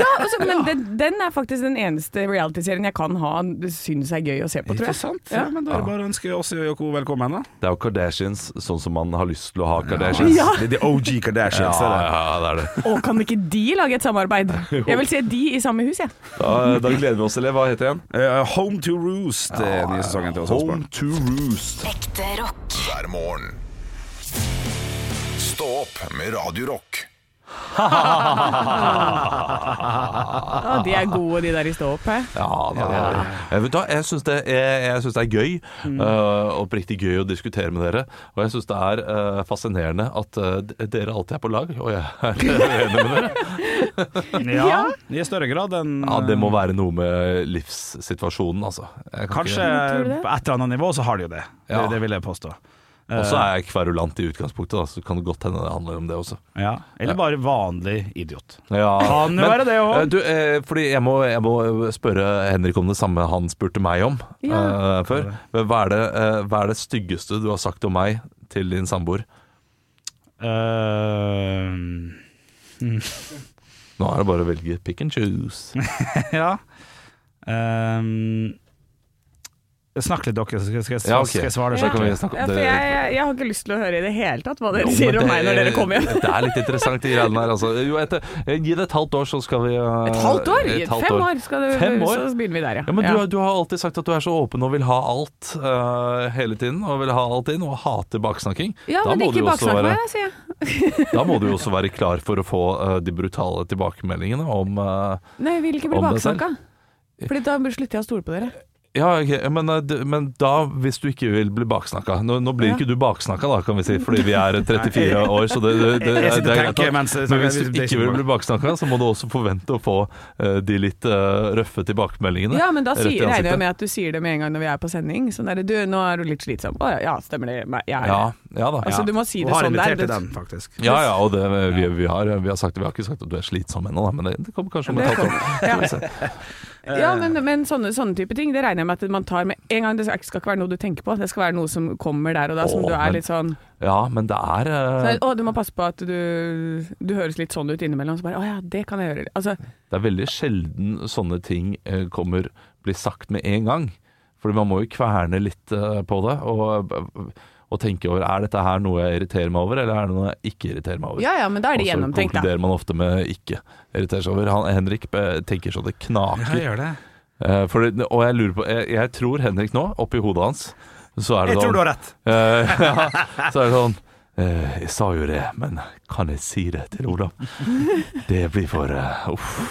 S3: Ja, altså, men den, den er faktisk den eneste realityserien jeg kan ha syns er gøy å se på, tror
S4: Ikke
S3: jeg.
S4: sant? Ja, men da er det bare å ønske Åssi og Yoko velkommen, da.
S5: det er jo Kardashians sånn som man har lyst til å ha Kardashians.
S3: Ja.
S4: Det er de OG Kardashians.
S5: ja,
S4: det er det.
S5: ja, det er det.
S3: Å, kan ikke de lage et samarbeid? Jeg vil se de i samme hus, jeg.
S5: Da, da gleder vi oss til det. Hva heter den?
S4: Eh, Home to Roost, ja, nye sesongen til Åssi Osborne.
S5: Home to Roost.
S6: Ekte rock.
S2: hver morgen. Stå opp med Radio Rock.
S3: Ja, de er gode, de der i stå opp. hæ?
S5: Ah. Ja, da, ja. Jeg, Eh, vet, du hva, jeg syns det, er- jeg synes det er gøy,
S4: Mm.
S5: øh, oppriktig gøy å diskutere med dere. Og jeg syns det er øh, fascinerende at øh, d- dere alltid er på lag, og jeg er uenig med dere.
S4: Ja, i større grad enn
S5: Ja, det
S3: Eh.
S5: må være noe med livssituasjonen, altså. Jeg
S4: eh,
S5: kan
S4: Kanskje
S5: ikke-
S3: tror du det?
S4: på et eller annet nivå så har de jo det.
S5: Ja.
S4: Det, det vil jeg påstå.
S5: Og så er jeg kverulant i utgangspunktet, da, så kan det godt hende det handler om det også.
S4: Ja. Eller bare vanlig idiot.
S5: Ja.
S4: Kan jo være det også.
S5: eh, Du, eh, fordi jeg må, jeg må spørre Henrik om det samme han spurte meg om
S3: Ja.
S5: eh, før. Men Hva er, det, eh, hva er det styggeste du har sagt om meg til din samboer?
S4: Eh,
S5: Nå er det bare å velge pick and choose.
S4: Ja. Ehm, snakk litt, dere, så skal, skal, jeg-
S5: Ja, ok.
S4: skal jeg svare det.
S5: Så
S4: skikkelig?
S5: kan vi snakke
S3: Ja,
S5: om
S3: for
S5: det.
S3: jeg, jeg, jeg har ikke lyst til å høre i det hele tatt hva dere
S5: Jo,
S3: sier om
S5: men det-
S3: meg når dere kommer hjem.
S5: Det er litt interessant, de greiene der. Altså. Jo, etter, gi det et halvt år, så skal vi eh,
S3: Et halvt år?
S5: et halvt
S3: Fem år, skal du,
S5: Fem år?
S3: så begynner vi der, ja.
S5: Ja, men du, har- du har alltid sagt at du er så åpen og vil ha alt eh, hele tiden. Og vil ha alt inn, og hater baksnakking.
S3: Ja, men
S5: må
S3: ikke
S5: du jo også
S3: baksnakk
S5: være-
S3: meg, da, sier jeg.
S5: Da må du jo også være klar for å få eh, de brutale tilbakemeldingene om eh,
S3: Nei, jeg vil ikke bli
S5: Om deg selv?
S3: baksnakka. Fordi da slutter jeg å stole på dere.
S5: Ja, ok, men, eh, d- men da, hvis du ikke vil bli baksnakka Nå, nå blir
S3: Ja.
S5: ikke du baksnakka, da, kan vi si, fordi vi er 34 år, så det, det, det,
S4: Jeg- jeg sitter
S5: det
S4: og
S5: er greit.
S4: tenker
S5: nok.
S4: mens-
S5: Men hvis
S4: hvis
S5: du
S4: det
S5: ikke
S4: ikke
S5: vil
S4: går.
S5: bli baksnakka, så må du også forvente å få eh, de litt eh, røffe tilbakemeldingene.
S3: Ja, men da
S5: rett
S3: sier,
S5: i
S3: regner
S5: ansiktet.
S3: jeg med at du sier det med en gang når vi er på sending. Sånn der, du, nå er du litt slitsom. Å ja, stemmer det. Nei, Jeg er
S5: Ja,
S3: det.
S5: ja da.
S3: Altså, du må si
S4: Og
S3: det
S4: har
S3: sånn der.
S4: invitert til
S3: Det-
S4: den, faktisk.
S5: Ja, ja, og det, vi, vi, har, vi har sagt det. Vi har ikke sagt at du er slitsom ennå, da, men det, det kommer kanskje om et halvt år.
S3: Ja, men, men sånne, sånne type ting, det regner jeg med at man tar med en gang. Det skal skal ikke være noe du tenker på, det skal være noe som kommer der og da, som
S5: Åh,
S3: du
S5: men-
S3: er litt sånn
S5: Ja, men det er eh,
S3: så, Å, du må passe på at du Du høres litt sånn ut innimellom, så bare Å ja, det kan jeg gjøre. Altså,
S5: Det er veldig sjelden sånne ting eh, kommer, blir sagt med en gang. Fordi man må jo kverne litt eh, på det, og, og tenke over er dette her noe jeg irriterer meg over, eller er det noe jeg ikke irriterer meg over.
S3: ja ja, men da er det
S5: Og
S3: gjennomtenkt,
S5: så
S3: da.
S5: konkluderer man ofte med ikke irritere seg over. Han, Henrik eh, tenker så det
S4: Ja,
S5: knaker.
S4: jeg gjør det.
S5: Eh, for, det- og jeg lurer på Jeg, jeg tror Henrik nå, oppi hodet hans, så er det
S4: Jeg tror
S5: sånn-
S4: du har rett.
S5: Eh, ja, så er det sånn eh, Jeg sa jo det, men kan jeg si det til Olav? Det blir for eh, Uff.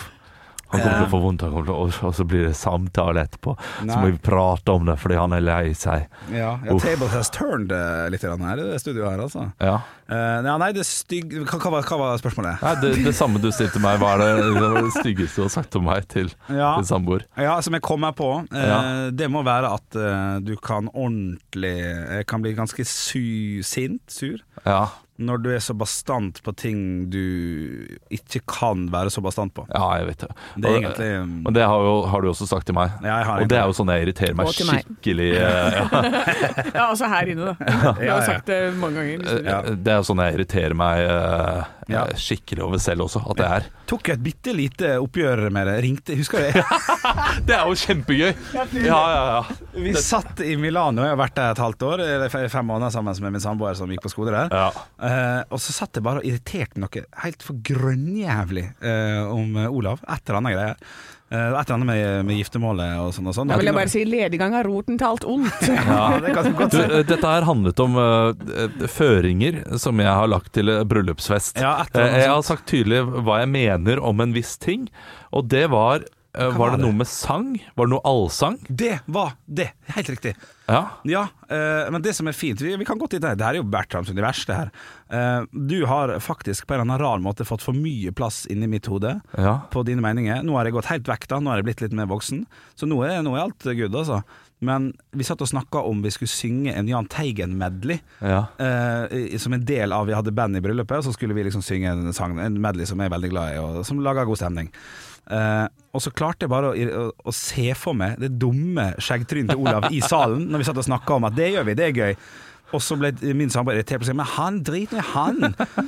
S5: Han kommer til å få vondt, han kommer til å, og- og så blir det samtale etterpå. Så må
S4: Nei.
S5: vi prate om det fordi han er lei seg.
S4: Ja, ja
S5: Uff.
S4: Table has turned eh, litt grann her i det studioet her, altså.
S5: Ja.
S4: Eh, ja, nei, det stygg... Hva, hva, var- hva var spørsmålet?
S5: Nei, det, det samme du sier til meg, hva er det, det, var det styggeste du har sagt om meg til,
S4: Ja.
S5: til samboer?
S4: Ja, som jeg kommer på, eh,
S5: Ja.
S4: det må være at eh, du kan ordentlig Jeg kan bli ganske su sint, sur,
S5: Ja,
S4: når du er så bastant på ting du ikke kan være så bastant på.
S5: ja, jeg vet det.
S4: Det er
S5: Og-
S4: egentlig- mm,
S5: Men det har, jo, har du også sagt til meg.
S4: Ja, jeg har
S5: og det
S4: egentlig
S5: er jo sånn jeg irriterer meg
S3: Og til meg.
S5: skikkelig. eh, ja.
S3: Ja, altså her inne, da. Du
S4: Ja,
S3: har
S4: ja.
S3: sagt det mange ganger. liksom.
S5: Eh, Det er jo sånn jeg irriterer meg eh,
S4: Ja.
S5: eh, skikkelig over selv også, at det er.
S4: Tok jeg et bitte lite oppgjør med det. Ringte, husker du?
S5: Det er jo kjempegøy! Ja, ja, ja.
S4: Vi satt i Milano, jeg har vært der et halvt år, eller fe- fem måneder sammen med min samboer som gikk på skole der.
S5: Ja.
S4: Eh, og så satt jeg bare og irriterte meg noe helt for grønnjævlig eh, om eh, Olav. Et eller annet greier. Eh, et eller annet med, med giftermålet og sånn og sånn.
S3: Da vil jeg bare si lediggang har roten til alt ondt.
S4: Ja, det kan du godt
S5: Du,
S4: si.
S5: eh, dette her handlet om eh, eh, føringer som jeg har lagt til eh, bryllupsfest.
S4: Ja, et eller annet
S5: Eh, jeg
S4: sånt.
S5: har sagt tydelig hva jeg mener om en viss ting, og det var Eh,
S4: kan
S5: Var det
S4: være.
S5: noe med sang? Var det noe allsang?
S4: Det var det! Helt riktig.
S5: Ja.
S4: Ja, eh, men det som er fint Vi, vi kan godt dit der. Det her er jo Bertrams univers, det her. Eh, du har faktisk på en eller annen rar måte fått for mye plass inni mitt hode
S5: ja.
S4: på dine meninger. Nå har jeg gått helt vekk, da. Nå har jeg blitt litt mer voksen. Så nå er, nå er alt good, altså. Men vi satt og snakka om vi skulle synge en Jahn Teigen-medley.
S5: ja.
S4: eh, i- som en del av Vi hadde band i bryllupet, og så skulle vi liksom synge en sang En medley som jeg er veldig glad i, og som laga god stemning. Eh, og så klarte jeg bare å, å, å se for meg det dumme skjeggtrynet til Olav i salen når vi satt og snakka om at det gjør vi, det er gøy. Og så ble min samboer irritert på seg. Men han driter nå i han!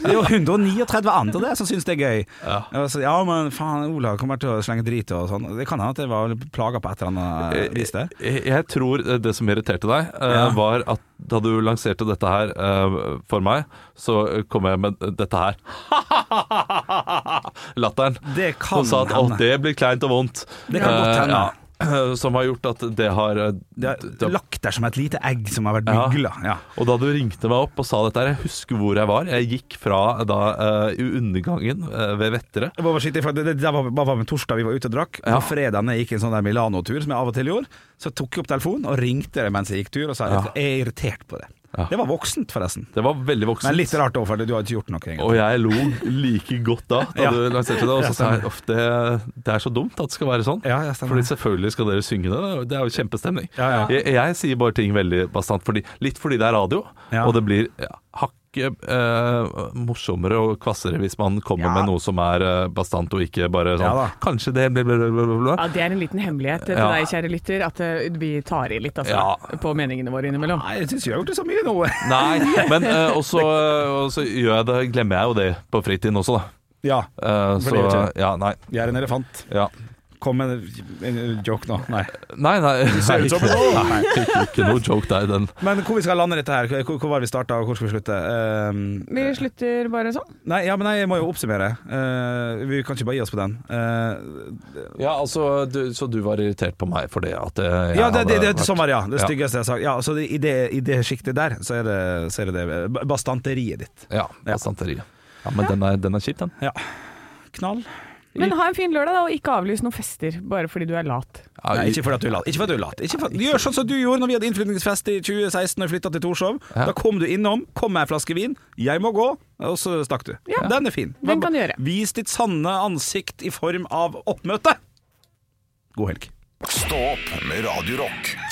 S4: Det er jo 139 andre der som syns det er gøy. Ja, så, ja men faen, Olav kommer til å slenge drit og sånn. Det kan hende at jeg var plaga på et eller annet eh, vis der.
S5: Jeg, jeg tror eh, det som irriterte deg, eh,
S4: Ja.
S5: var at da du lanserte dette her eh, for meg, så eh, kom jeg med dette her. Latteren.
S4: Det kan
S5: og sa at
S4: hende.
S5: alt det blir kleint og vondt.
S4: Det kan godt
S5: Eh,
S4: hende.
S5: ja. Som har gjort at det har eh,
S4: Det
S5: det-
S4: er lagt der som et lite egg som har vært
S5: Ja.
S4: mygla. Ja.
S5: Og da du ringte meg opp og sa dette her, jeg husker hvor jeg var. Jeg gikk fra da eh, i undergangen eh, ved Vettere.
S4: Jeg må bare skyte ifra, det, det, det var, bare var med torsdag vi var ute og drakk.
S5: Ja.
S4: På fredagen jeg gikk en sånn der Milano-tur, som jeg av og til gjorde, så tok jeg opp telefonen og ringte det mens jeg gikk tur og sa
S5: Ja.
S4: at jeg er irritert på det.
S5: Ja.
S4: Det var voksent, forresten.
S5: Det var veldig voksent.
S4: Men litt rart overfor det, du har ikke gjort noe engang.
S5: Og jeg lo like godt da, da
S4: Ja.
S5: du lanserte det. Og
S4: Ja,
S5: så sa jeg
S4: stemmer.
S5: at det, det er så dumt at det skal være sånn.
S4: Ja, ja, stemmer.
S5: fordi selvfølgelig skal dere synge det. Det er jo kjempestemning.
S4: Ja, ja.
S5: Jeg, jeg sier bare ting veldig bastant. Fordi, litt fordi det er radio,
S4: Ja.
S5: og det blir ja, hakket eh, morsommere og kvassere hvis man kommer
S4: Ja.
S5: med noe som er eh, bastant og ikke bare sånn
S4: Ja da.
S5: Kanskje det blir bla, bla, bla, bla.
S3: Ja, Det er en liten hemmelighet til
S5: Ja.
S3: deg, kjære lytter, at eh, vi tar i litt altså,
S5: Ja.
S3: på meningene våre innimellom.
S4: Nei, jeg syns jeg har gjort det så mye nå.
S5: Nei, men eh, også, eh, også gjør jeg det, glemmer jeg jo det på fritiden også, da.
S4: Ja,
S5: Eh,
S4: For
S5: så
S4: det gjør ikke
S5: ja, nei.
S4: jeg er en elefant.
S5: Ja.
S4: Kom med en, en joke nå. Nei.
S5: Nei, nei.
S4: ser ut som en ål.
S5: Nei, ikke, ikke noe joke der, den.
S4: Men hvor vi skal lande dette her? Hvor, hvor var vi starta, og hvor skal vi slutte? Ehm,
S3: Vi slutter bare sånn.
S4: nei, ja, men nei, jeg må jo oppsummere. Eh, vi kan ikke bare gi oss på den. Eh,
S5: Ja, altså, du, Så du var irritert på meg for det? At eh, jeg
S4: Ja, det, det,
S5: hadde
S4: det,
S5: vært-
S4: sånn var det, ja. Det
S5: Ja.
S4: styggeste jeg har sagt. Ja, så det, i, det, I det sjiktet der, så er det, så er det, det ba- bastanteriet ditt.
S5: Ja, bastanteri. Ja, men den er, den er kjip, den.
S4: Knall.
S3: Men ha en fin lørdag, da, og ikke avlys noen fester bare fordi du er lat.
S5: Ja,
S4: Nei, ikke fordi at du er lat. Ikke fordi at du er lat. Ikke for, gjør sånn som du gjorde når vi hadde innflytningsfest i 2016 og flytta til Torshov.
S5: Ja.
S4: Da kom du innom, kom med ei flaske vin, 'jeg må gå', og så stakk du.
S3: Ja.
S4: Den er fin.
S3: Den kan du gjøre.
S4: Vis ditt sanne ansikt i form av oppmøte. God helg.
S2: Stå opp med Radio Rock.